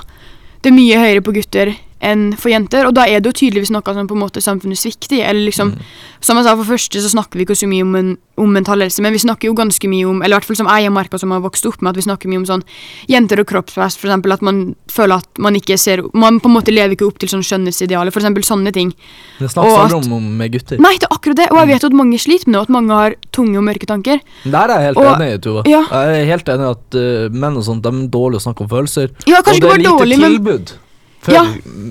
F: Det er mye høyere på gutter enn for jenter, og da er det jo tydeligvis noe som på en måte samfunnet svikter i. Eller liksom,
B: Mm.
F: som jeg sa, for første så snakker vi ikke så mye om, en, om mental helse, men vi snakker jo ganske mye om, eller i hvert fall som jeg har merket som har vokst opp med, at vi snakker mye om sånn jenter og kroppspress, for eksempel at man føler at man ikke ser, man på en måte lever ikke opp til sånn skjønnhetsidealer, for eksempel sånne ting.
B: Det snakkes
F: Og
B: aldri
F: at-
B: om- om med gutter.
F: Nei, det er akkurat det, og
B: Mm.
F: jeg vet at mange sliter med det, og at mange har tunge og mørke tanker.
B: Der er jeg helt
F: Og-
B: enig, i, Tuva.
F: ja.
B: Jeg er helt enig i at eh, menn og sånt, de er dårlige å snakke om følelser.
F: Ja, kanskje ikke
B: og det er lite
F: bare dårlig, men
B: tilbud. For,
F: Ja.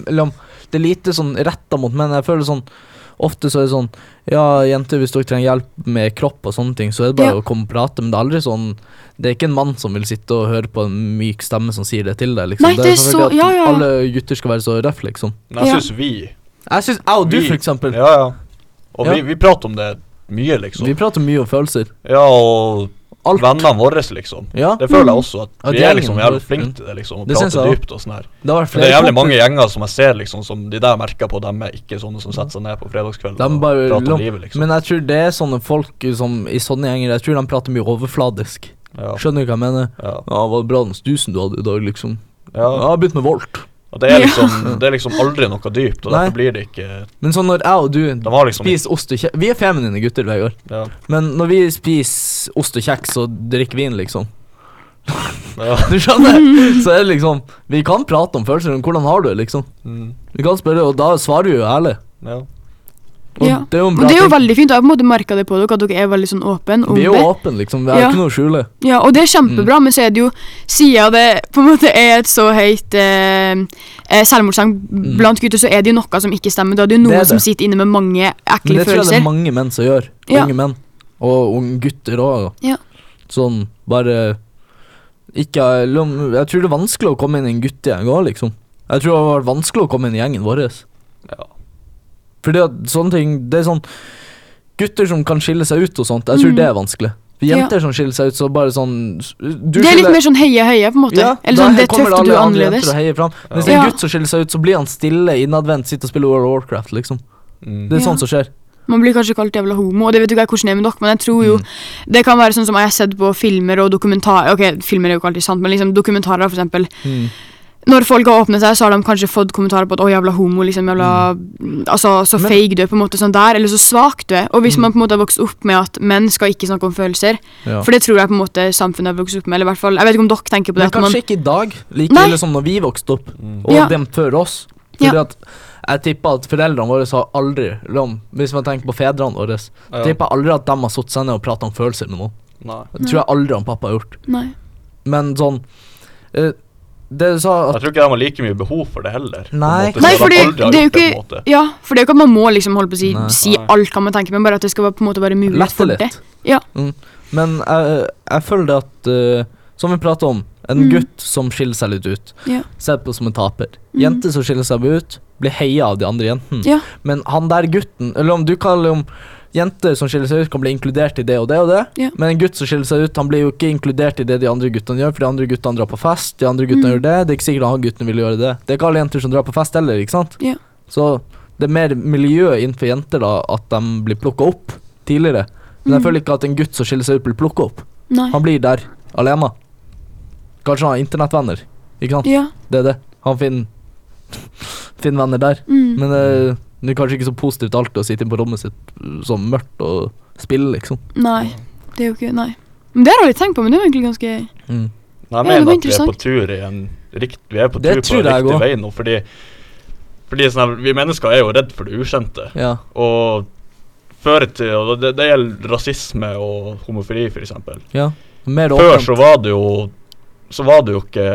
B: Eller, om- det er lite sånn retta mot menn. Jeg føler sånn Ofte så er det sånn Ja, jenter, hvis dere trenger hjelp med kropp og sånne ting, så er det bare
F: Ja.
B: å komme og prate, men det er aldri sånn Det er ikke en mann som vil sitte og høre på en myk stemme som sier det til deg, liksom.
F: Nei, det er
B: selvfølgelig
F: så- ja, ja, ja.
B: at alle gutter skal være så røff, liksom.
C: Men jeg
F: Ja.
C: syns vi
B: Jeg syns Jeg og du,
C: Vi-
B: for eksempel.
C: Ja, ja. Og
B: Ja.
C: Vi, vi prater om det mye, liksom.
B: Vi prater mye om følelser.
C: Ja, og
B: Alt.
C: vennene våre, liksom.
B: Ja,
C: Det føler jeg også,
B: Ja,
C: at vi
B: gjengen
C: er liksom jævlig
B: vår.
C: flinke til det, liksom. Å
B: Det synes
C: prate
B: jeg også.
C: dypt og sånn her.
B: det har vært
C: For det
B: flere
C: er jævlig mange gjenger som jeg ser, liksom, som de der merker på, dem er ikke sånne som setter seg ned på fredagskvelden
B: De
C: og
B: bare
C: prater
B: lom-
C: om livet, liksom.
B: Men jeg tror det er sånne folk som i sånne gjenger Jeg tror de prater mye overfladisk.
C: Ja,
B: Skjønner du hva jeg mener?
C: ja,
B: Ja, var det bra den stusen du hadde i dag, liksom? Ja, jeg
C: ja.
B: har begynt med Volt.
C: Og det er liksom, det er liksom aldri noe dypt, og
B: Nei.
C: derfor blir det ikke
B: Men sånn når jeg og du
C: De har liksom
B: spiser ost og kjeks Vi er feminine gutter, Vegard.
C: Ja.
B: Men når vi spiser ost og kjeks og drikker vin, liksom
C: ja.
B: Du skjønner? Så er det liksom Vi kan prate om følelser, men hvordan har du det, liksom?
C: Mm,
B: Vi kan spørre, og da svarer vi jo ærlig.
C: ja.
B: Og
F: Ja.
B: det er jo en
F: Og
B: bra
F: det er jo
B: ting.
F: veldig fint, og jeg har på en måte merket det på dere, at dere er veldig sånn åpen om
B: Vi er
F: det.
B: jo Mm. åpne, liksom. Vi har
F: Ja.
B: ikke noe å skjule.
F: Ja, og det er kjempebra, men så er det jo Siden det på en måte er et så høyt eh, eh, selvmordssang blant gutter, så er det jo noe som ikke stemmer. Da er det jo
B: Mm. Det
F: noen
B: er
F: som
B: det.
F: sitter inne med mange
B: Men
F: ekle
B: det tror jeg det
F: følelser.
B: er mange menn som gjør.
F: Ja.
B: Unge menn. Og unge gutter òg.
F: Ja.
B: Sånn bare Ikke Jeg tror det er vanskelig å komme inn i en guttegjeng òg, liksom. Jeg tror det har vært vanskelig å komme inn i gjengen vår.
C: Ja.
B: Fordi at sånne ting Det er sånn Gutter som kan skille seg ut og sånt, jeg tror
F: Mm.
B: det er vanskelig. For
F: Ja.
B: jenter som skiller seg ut, så bare sånn du
F: det er litt
B: skiller-
F: mer sånn heie-heie, på en måte. Eller
B: da
F: sånn, det er
B: kommer
F: tøft, og du er
B: alle andre
F: annerledes.
B: jenter og heier fram. Men Hvis
F: Ja.
B: en gutt som skiller seg ut, så blir han stille, innadvendt, sitter og spiller World of Warcraft, liksom.
C: Mm.
B: Det er
F: Ja.
B: sånt som skjer.
F: Man blir kanskje kalt jævla homo, og det vet ikke jeg hvordan det er med dere, men jeg tror jo
B: Mm.
F: det kan være sånn som jeg har sett på filmer og dokumentarer Ok, filmer er jo ikke alltid sant, men liksom dokumentarer, for eksempel.
B: Mm.
F: Når folk har åpnet seg, så har de kanskje fått kommentarer på at 'å, jævla homo', liksom, jævla Altså, så
B: Mm. Men- Mm.
F: feig du er, på en måte, sånn der, eller så svak du er. Og hvis man på en måte har vokst opp med at menn skal ikke snakke om følelser,
B: Ja.
F: for det tror jeg på en måte samfunnet har vokst opp med, eller i hvert fall Jeg vet ikke om dere tenker på det,
B: Men
F: at man
B: kanskje ikke i dag, like
F: Nei.
B: ille som når vi vokste opp, og
F: Ja.
B: dem før oss. Fordi
F: Ja.
B: at jeg tipper at foreldrene våre har aldri liksom, Hvis man tenker på fedrene våre,
C: Ja.
B: tipper jeg aldri at de har satt seg ned og pratet om følelser med noen.
C: Nei.
B: Det tror jeg aldri han pappa har gjort.
F: Nei.
B: Men sånn eh, Det du sa
C: Jeg
B: at
C: tror ikke de har like mye behov for det heller. på en
B: Nei,
C: måte,
B: Nei,
C: så de
F: fordi
C: aldri har
F: det er jo
C: gjort på en
F: ikke-
C: måte.
F: Ja, for det er jo ikke at man må liksom holde på å si,
B: Nei.
F: si
C: Nei.
F: alt hva man tenker, men bare at det skal være, på en måte være mulig
B: Lette
F: for det.
B: litt.
F: Ja.
B: Mm. Men jeg, jeg føler det at eh, Som vi prater om, en
F: Mm.
B: gutt som skiller seg litt ut,
F: Ja.
B: sett på som en taper.
F: Mm.
B: Jenter som skiller seg ut, blir heia av de andre jentene.
F: Ja.
B: Men han der gutten Eller om du kaller om Jenter som skiller seg ut, kan bli inkludert i det og det og det.
F: Ja.
B: Men en gutt som skiller seg ut, han blir jo ikke inkludert i det de andre guttene gjør, for de andre guttene drar på fest, de andre
F: Mm.
B: guttene gjør det. Det er ikke sikkert han gutten vil gjøre det. Det er ikke alle jenter som drar på fest heller, ikke sant?
F: Ja.
B: Så det er mer miljø innenfor jenter, da, at de blir plukka opp tidligere.
F: Mm.
B: Men jeg føler ikke at en gutt som skiller seg ut, blir plukka opp.
F: Nei.
B: Han blir der, alene. Kanskje han har internettvenner, ikke sant?
F: Ja.
B: Det er det. Han finner finner venner der.
F: Mm.
B: Men eh, det er kanskje ikke så positivt alltid å sitte inn på rommet sitt eh, sånn mørkt og spille, liksom.
F: Nei. Det er jo ikke Nei. Men Det har jeg litt tenkt på, men det er jo egentlig ganske
B: Mm.
C: Nei, jeg
F: Ja, det var
C: mener at vi er på
F: interessant.
C: tur i en rikt, Vi er på
B: Det
C: tur på
B: tror
C: en
B: jeg
C: riktig
B: også.
C: vei nå, fordi Fordi sånn, her, Vi mennesker er jo redd for det ukjente.
B: Ja.
C: Og før i tida og det, det gjelder rasisme og homofili, f.eks.
B: ja. Mer
C: Før
B: åpent.
C: så var det jo Så var det jo ikke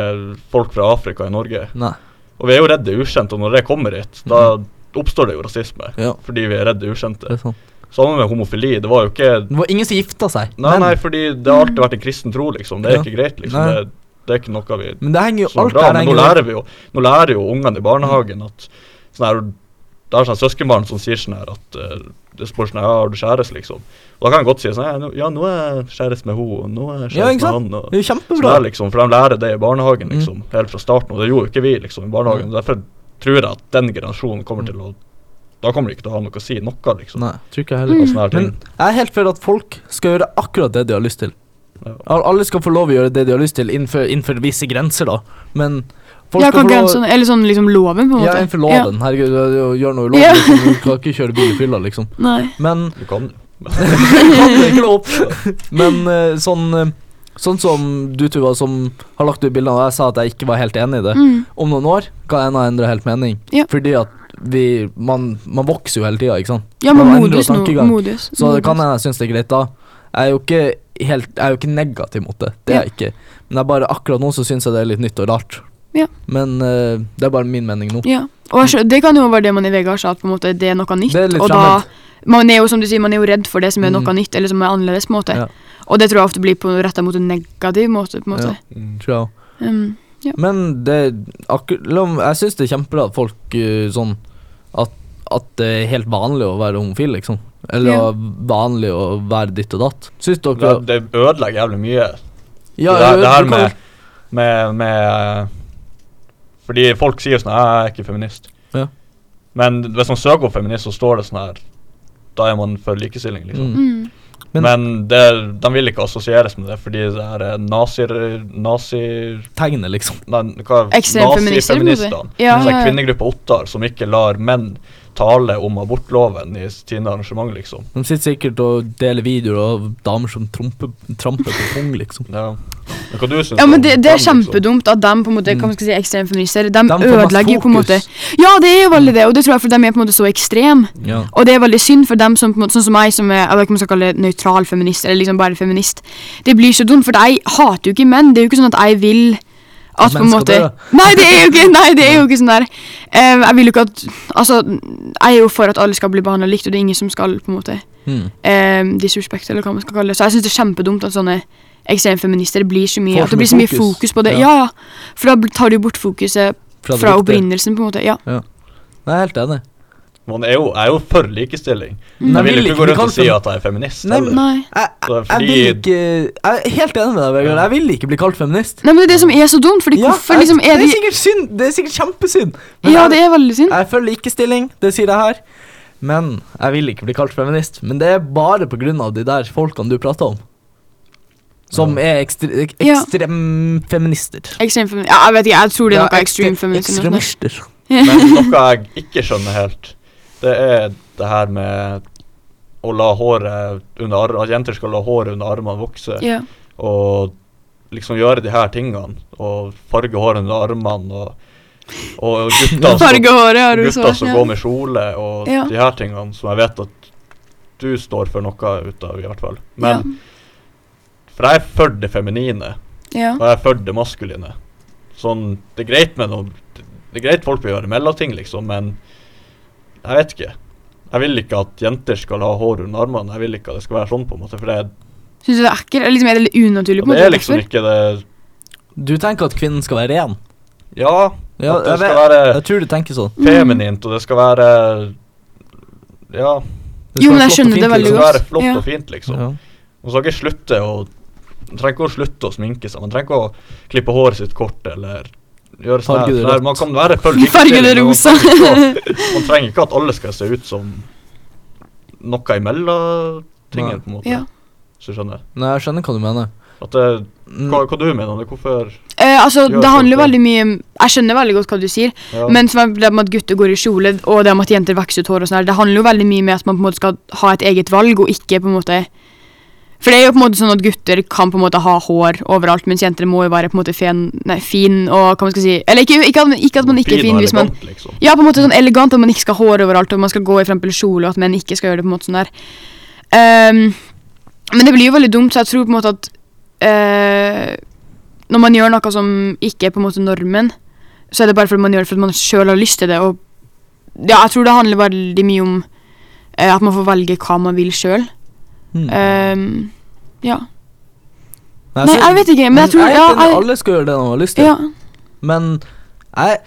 C: folk fra Afrika i Norge.
B: Nei.
C: Og vi er jo redd det ukjente, og når det kommer hit, da oppstår det jo rasisme.
B: Ja.
C: Fordi vi er redd det
B: Det
C: ukjente.
B: er sant.
C: Samme med homofili. Det var jo ikke
B: Det var ingen som gifta seg.
C: Nei,
B: men,
C: nei, fordi det har alltid vært en kristen tro, liksom. Det er
B: Ja.
C: ikke greit, liksom.
B: Nei.
C: Det, det er ikke noe vi
B: men det henger jo
C: så
B: alt
C: bra.
B: der
C: Men nå
B: henger jo-
C: lærer vi jo Nå lærer jo ungene i barnehagen at sånn her Det er sånn søskenbarn som sier sånn her at eh, det spør sånn her, ja, har du kjæreste, liksom. Og da kan jeg godt si sånn her, ja, nå er jeg kjæreste med henne, og nå er jeg
B: Ja, ikke
C: kjæreste
B: sant?
C: med han. og...
B: Det er jo
C: Så det
B: kjempebra. Mm.
C: er liksom, for de lærer det i barnehagen liksom, helt fra starten, og det gjorde jo ikke vi liksom, i barnehagen. Derfor tror jeg at den generasjonen kommer til å Da kommer de ikke til å ha noe å si noe, liksom.
B: Mm. Nei, tror ikke jeg
C: Og
B: heller.
C: sånne her ting.
B: Men jeg er helt for at folk skal gjøre akkurat det de har lyst til.
C: Ja.
B: Al- Alle skal få lov å gjøre det de har lyst til, innenfor, innenfor visse grenser, da. Men folk
F: Ja,
B: skal få
F: hva
B: lov
F: grensen Eller sånn liksom loven, på en måte.
B: Ja, innenfor loven. Herregud, det er jo å gjøre noe ulovlig.
F: Ja.
B: liksom, Du kan ikke kjøre bil i fylla, liksom.
F: Ja, nei.
B: Men
C: Du kan
B: Men eh, sånn eh, Sånn som du, Tuva, som har lagt ut bildene, og jeg sa at jeg ikke var helt enig i det.
F: Mm.
B: Om noen år kan en ha endra helt mening,
F: Ja.
B: fordi at vi Man, man vokser jo hele tida, ikke sant?
F: Ja,
B: Og
F: man
B: endrer
F: modus nå.
B: tankegang.
F: Modus.
B: Så det kan
F: modus.
B: hende jeg syns det er greit da. Jeg er jo ikke helt Jeg er jo ikke negativ mot det. Det er jeg ikke. Men jeg bare akkurat nå så syns jeg det er litt nytt og rart.
F: Ja.
B: Men eh, det er bare min mening nå.
F: Ja. Og jeg skjø- det kan jo være det man i Vegard sa, at på en måte det er noe nytt.
B: Det er litt
F: og da, man er jo som du sier, man er jo redd for det som er
B: Mm.
F: noe nytt, eller som er annerledes. på en måte.
B: Ja.
F: Og det tror jeg ofte blir på retta mot en negativ måte. på en måte.
B: Tror jeg.
F: Um,
B: Men det akkur- la om- Jeg syns det er kjempebra at folk eh, sånn at, at det er helt vanlig å være homofil, liksom. Eller
F: Ja.
B: vanlig å være ditt og datt. Syns
C: det,
B: dere
C: det ødelegger jævlig mye.
B: Ja,
C: det, her- det
B: du
C: her
B: kan-
C: med, med, med eh, Fordi folk sier sånn Jeg er ikke feminist.
B: Ja.
C: Men hvis man søker opp feminist, så står det sånn her Da er man for likestilling, liksom.
B: Mm.
F: mm.
B: Men-
C: Men, det, de vil ikke assosieres med det, fordi det her er eh, nazier... nazier
B: Tegnet, liksom.
C: Nei, hva
F: Ekstremfeminister, må du si.
C: nazifeministene.
F: Ja,
C: Så det er
F: ja, ja.
C: Kvinnegruppa Ottar, som ikke lar menn tale om abortloven i sine arrangement, liksom.
B: De sitter sikkert og deler videoer av damer som trompe, tramper på pung, liksom.
C: Ja. Men hva du syns
F: Ja, men det,
C: om
F: det
C: dem, liksom?
F: er kjempedumt at de på en måte,
B: Mm.
F: hva man skal si, ekstremfeminister de,
B: De får mer
F: ødelegger jo på en måte
B: fokus.
F: Ja, det er jo veldig det, og det tror jeg fordi de er på en måte så ekstreme.
B: Ja.
F: Og det er veldig synd for dem som på en måte, sånn som meg, som er jeg vet ikke om jeg skal kalle det nøytral feminist, eller liksom bare feminist. Det blir så dumt, for jeg hater jo ikke menn. Det er jo ikke sånn at jeg vil at
B: At
F: på en
B: menn skal
F: måte
B: dø.
F: Nei, det er jo ikke, nei, det er jo ikke sånn der. Eh, jeg vil jo ikke at Altså, jeg er jo for at alle skal bli behandla likt, og det er ingen som skal på en måte
B: Mm.
F: um, disrespect, eller hva man skal kalle det. Så jeg syns det er kjempedumt at sånne ekstremfeminister blir så mye
B: Får
F: At det
B: så
F: blir så
B: mye
F: mye fokus,
B: fokus
F: på det.
B: Ja.
F: Ja. ja, For da bl- tar du jo bort fokuset
B: Fra det
F: fra
B: riktige.
F: opprinnelsen, på en måte. Ja.
B: Nei, jeg er helt enig.
C: Man er jo, jeg er jo for likestilling.
F: Mm.
B: Nei,
C: Jeg vil
B: vil
C: ikke
B: ikke- vi
C: gå rundt
B: kan
C: og si
B: ikke-
C: at jeg er feminist.
B: Nei,
C: heller.
F: Nei.
B: Jeg,
C: Så det er
B: jeg
C: fordi
B: vil ikke Jeg er helt enig med deg, Vegard. Jeg vil ikke bli kalt feminist.
F: Nei, men det er det som er så dumt, fordi hvorfor liksom er
B: det
F: det
B: er sikkert synd. Det er sikkert kjempesynd. Men
F: Ja,
B: jeg-
F: det er veldig synd.
B: Jeg er for likestilling, det sier jeg her. Men jeg vil ikke bli kalt feminist. Men det er bare på grunn av de der folkene du prater om. Som er ekstre ek-
F: Ja.
B: ekstremfeminister.
F: Ekstremfeminist Ja, jeg vet ikke, jeg tror det er noe
B: Ja,
F: ja,
B: ekstre-
F: ekstremfeminist. eller noe sånt.
B: Ekstremister.
C: Men noe jeg ikke skjønner helt, det er det her med å la håret under ar- At jenter skal la håret under armene vokse,
F: Ja.
C: og liksom gjøre de her tingene. Og farge håret under armene, og, og gutter som-
F: Farge håret, har du
C: gutter
F: svart.
C: som
F: ja.
C: går med kjole og
F: Ja.
C: de her tingene, som jeg vet at du står for noe ut av, i hvert fall. Men For jeg er for det feminine,
F: Ja.
C: og jeg er for det maskuline. Sånn, det er greit med noe Det er greit folk vil gjøre mellomting, liksom, men jeg vet ikke. Jeg vil ikke at jenter skal ha hår under armene. Jeg vil ikke at det skal være sånn, på en måte. For det,
F: Syns du det er ekkelt? Eller liksom, er det litt unaturlig? på en
C: det
F: måte?
C: er liksom
F: Hvorfor?
C: ikke det
B: Du tenker at kvinnen skal være ren?
C: Ja,
B: Ja,
C: at det
B: jeg,
C: skal
B: vet,
C: være
B: jeg tror du tenker sånn.
C: feminint, og det skal være Ja,
B: Det skal være
F: Jo, men jeg
B: flott og
F: skjønner
B: fint,
F: det
C: det
F: veldig
B: liksom.
C: skal
F: godt.
C: være flott
F: Ja.
C: og fint, liksom.
B: Ja.
C: Man skal ikke slutte å Man trenger ikke å slutte å sminke seg. Man trenger ikke å klippe håret sitt kort eller gjøre sånn.
B: Farge det
C: her. Nei,
B: rødt.
C: Man kan være full
F: Farge det
C: likestilling,
F: rosa.
C: men Man trenger, ikke å, man trenger ikke at alle skal se ut som noe imellom
B: Nei.
C: tingene, på en måte.
F: Ja.
C: Hvis du skjønner.
B: Nei, jeg skjønner hva du mener.
C: At det,
B: Mm.
C: hva, hva du mener du? Hvorfor
F: Eh, altså,
C: Gjør
F: det handler jo
C: folk
F: veldig mye om- Jeg skjønner veldig godt hva du sier,
C: ja.
F: men som er det med at gutter går i kjole, og det med at jenter vokser ut hår og sånn her, det handler jo veldig mye med at man på en måte skal ha et eget valg, og ikke på en måte For det er jo på en måte sånn at gutter kan på en måte ha hår overalt, mens jenter må jo være på en måte fen, nei, fin og hva man skal si Eller ikke, ikke, at- ikke at man ikke er
C: Fin og
F: fin hvis man
C: elegant, liksom.
F: Ja, på en måte sånn elegant at man ikke skal ha hår overalt, og man skal gå i for eksempel kjole, og at menn ikke skal gjøre det på en måte sånn der. Ehm, men det blir jo veldig dumt, så jeg tror på en måte at eh, når man gjør noe som ikke er på en måte normen, så er det bare fordi man gjør det fordi man sjøl har lyst til det, og ja, jeg tror det handler veldig mye om eh, at man får velge hva man vil sjøl.
B: Mm.
F: ja.
B: Nei, Mm.
F: Nei,
B: så-
F: jeg vet ikke, men jeg tror
B: er
F: ja,
B: helt enig,
F: jeg,
B: Alle skal gjøre det de har lyst til.
F: ja,
B: Men jeg,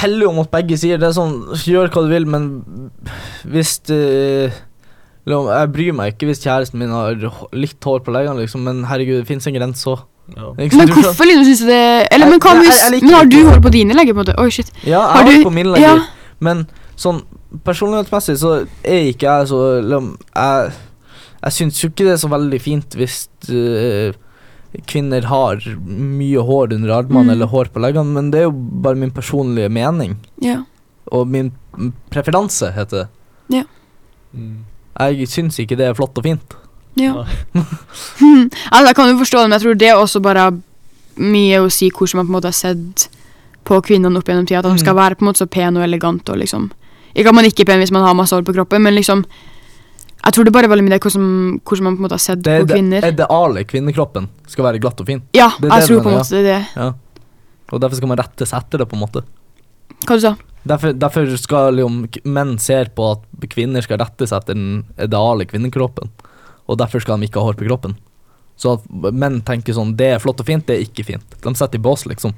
B: heller jo mot begge sider. Det er sånn, Gjør hva du vil, men hvis eh, liksom, Jeg bryr meg ikke hvis kjæresten min har h- litt hår på leggene, liksom, men herregud, det fins en grense òg.
C: Ja.
F: Men hvorfor liksom synes du det Eller men hva
B: Jeg- jeg-
F: hvis
B: jeg liker
F: Men har
B: ikke
F: du
B: det.
F: hår på dine legger, på en måte? Oi, shit.
B: Ja, jeg
F: Har
B: har,
F: du-
B: det på mine legger,
F: ja.
B: men sånn personlighetsmessig så er ikke jeg så liksom, Jeg, jeg syns jo ikke det er så veldig fint hvis eh, kvinner har mye hår under armene
F: Mm.
B: eller hår på leggene, men det er jo bare min personlige mening.
F: Ja.
B: Og min mm, preferanse, heter det.
C: Mm.
B: Jeg syns ikke det er flott og fint.
F: ja.
C: Ja.
F: Hmm. altså, jeg kan jo forstå det, men jeg tror det også bare har mye å si hvordan man på en måte har sett på kvinnene opp gjennom tida. At de
B: Mm.
F: skal være på en måte så pene og elegante og liksom Ikke at man ikke er pen hvis man har masse hår på kroppen, men liksom Jeg tror det bare er veldig mye det hvordan, hvordan man på en måte har sett
B: Det
F: på kvinner.
B: ideale i kvinnekroppen skal være glatt og fin,
F: ja,
B: det er det
F: jeg tror
B: du
F: på en
B: mener,
F: måte det er det.
B: og derfor skal man rette seg etter det, på en måte.
F: Hva du sa
B: Derfor, derfor skal jo k- menn ser på at kvinner skal rette seg etter den ideale kvinnekroppen, og derfor skal de ikke ha hår på kroppen. Så at menn tenker sånn Det er flott og fint, det er ikke fint. De setter i bås, liksom.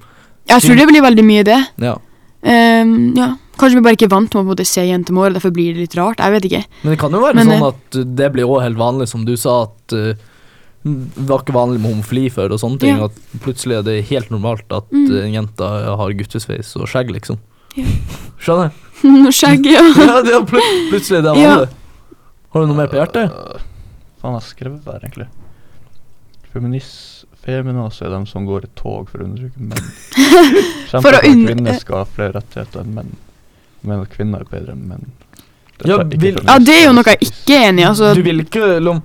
F: Jeg tror det blir veldig mye det.
B: Ja.
F: Ehm, ja. Kanskje vi bare ikke er vant til å på en måte se jenter med hår, og derfor blir det litt rart. Jeg vet ikke.
B: Men det kan jo være
F: Men,
B: sånn at uh, det blir òg helt vanlig, som du sa, at uh, det var ikke vanlig med homofili før, og sånne ting.
F: Ja.
B: At plutselig er det helt normalt at
F: Mm.
B: uh, en jente har guttesveis og skjegg, liksom.
F: Ja.
B: Skjønner? jeg?
F: Skjegg, ja.
B: Ja, det er plut plutselig er det
F: Ja.
B: vanlig. Har du noe mer på hjertet?
G: faen har jeg skrevet der, egentlig? Feminis, feminazi er dem som går i tog for å undertrykke menn. Kjemper
F: For
G: for
F: å
G: at
F: unn-
G: kvinner skal ha flere rettigheter enn menn. Men at kvinner er bedre enn menn. Dette
B: Ja,
G: er ikke
B: vil-
G: feminist,
F: Ja, det er jo noe jeg
G: sexist.
F: ikke er enig i. Altså.
B: Du vil ikke liksom,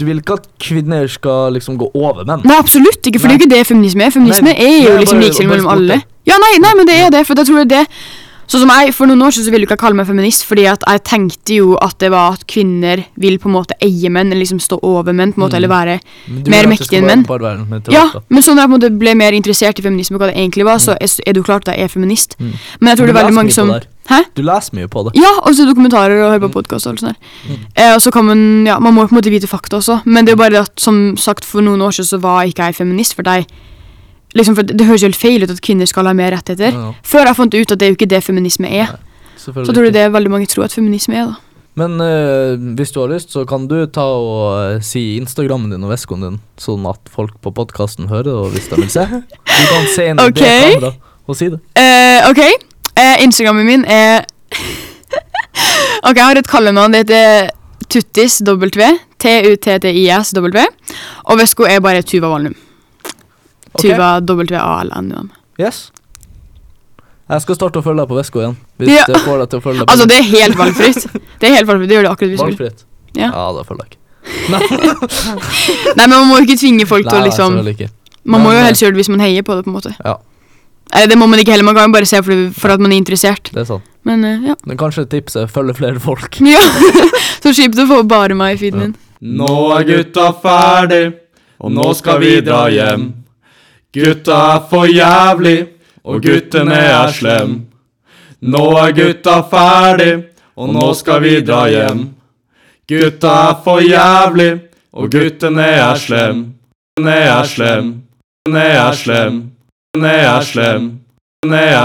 B: Du vil ikke at kvinner skal liksom gå over menn?
F: Nei, absolutt ikke, for det er jo ikke det feminisme er. Feminisme
B: Nei,
F: er jo
B: nei,
F: liksom
B: bare-
F: likestilling
B: bare
F: mellom
B: sport,
F: alle.
B: det.
F: Ja, nei, nei, men det er det, for jeg tror det er det. Sånn som jeg, For noen år siden så ville jo ikke jeg kalle meg feminist, fordi at jeg tenkte jo at det var at kvinner vil på en måte eie menn, eller liksom stå over menn, på en måte,
B: Mm.
F: eller være
B: Men du vil
F: Mer
B: at det
F: mektig
B: skal
F: enn
B: være
F: menn.
B: bare være
F: Ja,
B: nøytralt, da.
F: men så når jeg på en måte ble mer interessert i feminisme, og hva det egentlig var, så er er det jo klart at jeg er feminist.
B: Mm.
F: Men jeg tror det
B: Du
F: er veldig
B: leser
F: mange
B: mye
F: som
B: på det her.
F: Hæ?
B: Du leser mye på det.
F: Ja, og så dokumentarer og hører på podkast og alt sånt der. Eh, og så kan man Ja, man må jo på en måte vite fakta også, men det er jo bare det at som sagt, for noen år siden så var ikke jeg feminist, for deg Liksom, for det, det høres jo helt feil ut at kvinner skal ha mer rettigheter.
B: Ja,
F: Før jeg fant ut at det er jo ikke det feminisme er.
B: selvfølgelig
F: Så tror
B: ikke.
F: du det er veldig mange tror at feminisme er, da.
B: Men eh, hvis du har lyst, så kan du ta og eh, si Instagrammen din og veskoen din, sånn at folk på podkasten hører det, og hvis de vil se. Du kan se inn i det
F: Ok.
B: kameraet og si det.
F: Eh, ok, eh, Instagrammen min er Ok, jeg har et kallenavn. Det heter Tuttis W. T-U-T-T-I-S W. Og Vesko er bare Tuva Valnum.
B: Ok.
F: Tuva W-A-L-N-U-M.
B: Yes. Jeg skal starte å følge deg på vesko igjen, hvis
F: Ja.
B: det får deg til å følge deg. på
F: Altså, det er helt valgfritt. Det er helt valgfritt, det gjør det akkurat hvis du vil.
B: Valgfritt.
F: Ja.
B: ja, da følger jeg ikke.
F: Nei, men man må jo ikke tvinge folk til å
B: Nei,
F: liksom
B: selvfølgelig ikke.
F: Man må
B: Men,
F: jo
B: eh,
F: helst gjøre det hvis man heier på det, på en måte.
B: Ja.
F: Eller det må man ikke heller, man kan jo bare se for, for at man er interessert.
B: Det er sant.
F: Men eh, ja.
B: Men kanskje tipset er følge flere folk.
F: ja. Så kjipt å få bare meg i feeden min.
A: Nå er gutta ferdig, og nå skal vi dra hjem. Gutta er for jævlig, og guttene er slem. Nå er gutta ferdig, og nå skal vi dra hjem. Gutta er for jævlig, og guttene er slem. Guttene er slem. Guttene er slem. Guttene er slem. Guttene er slem.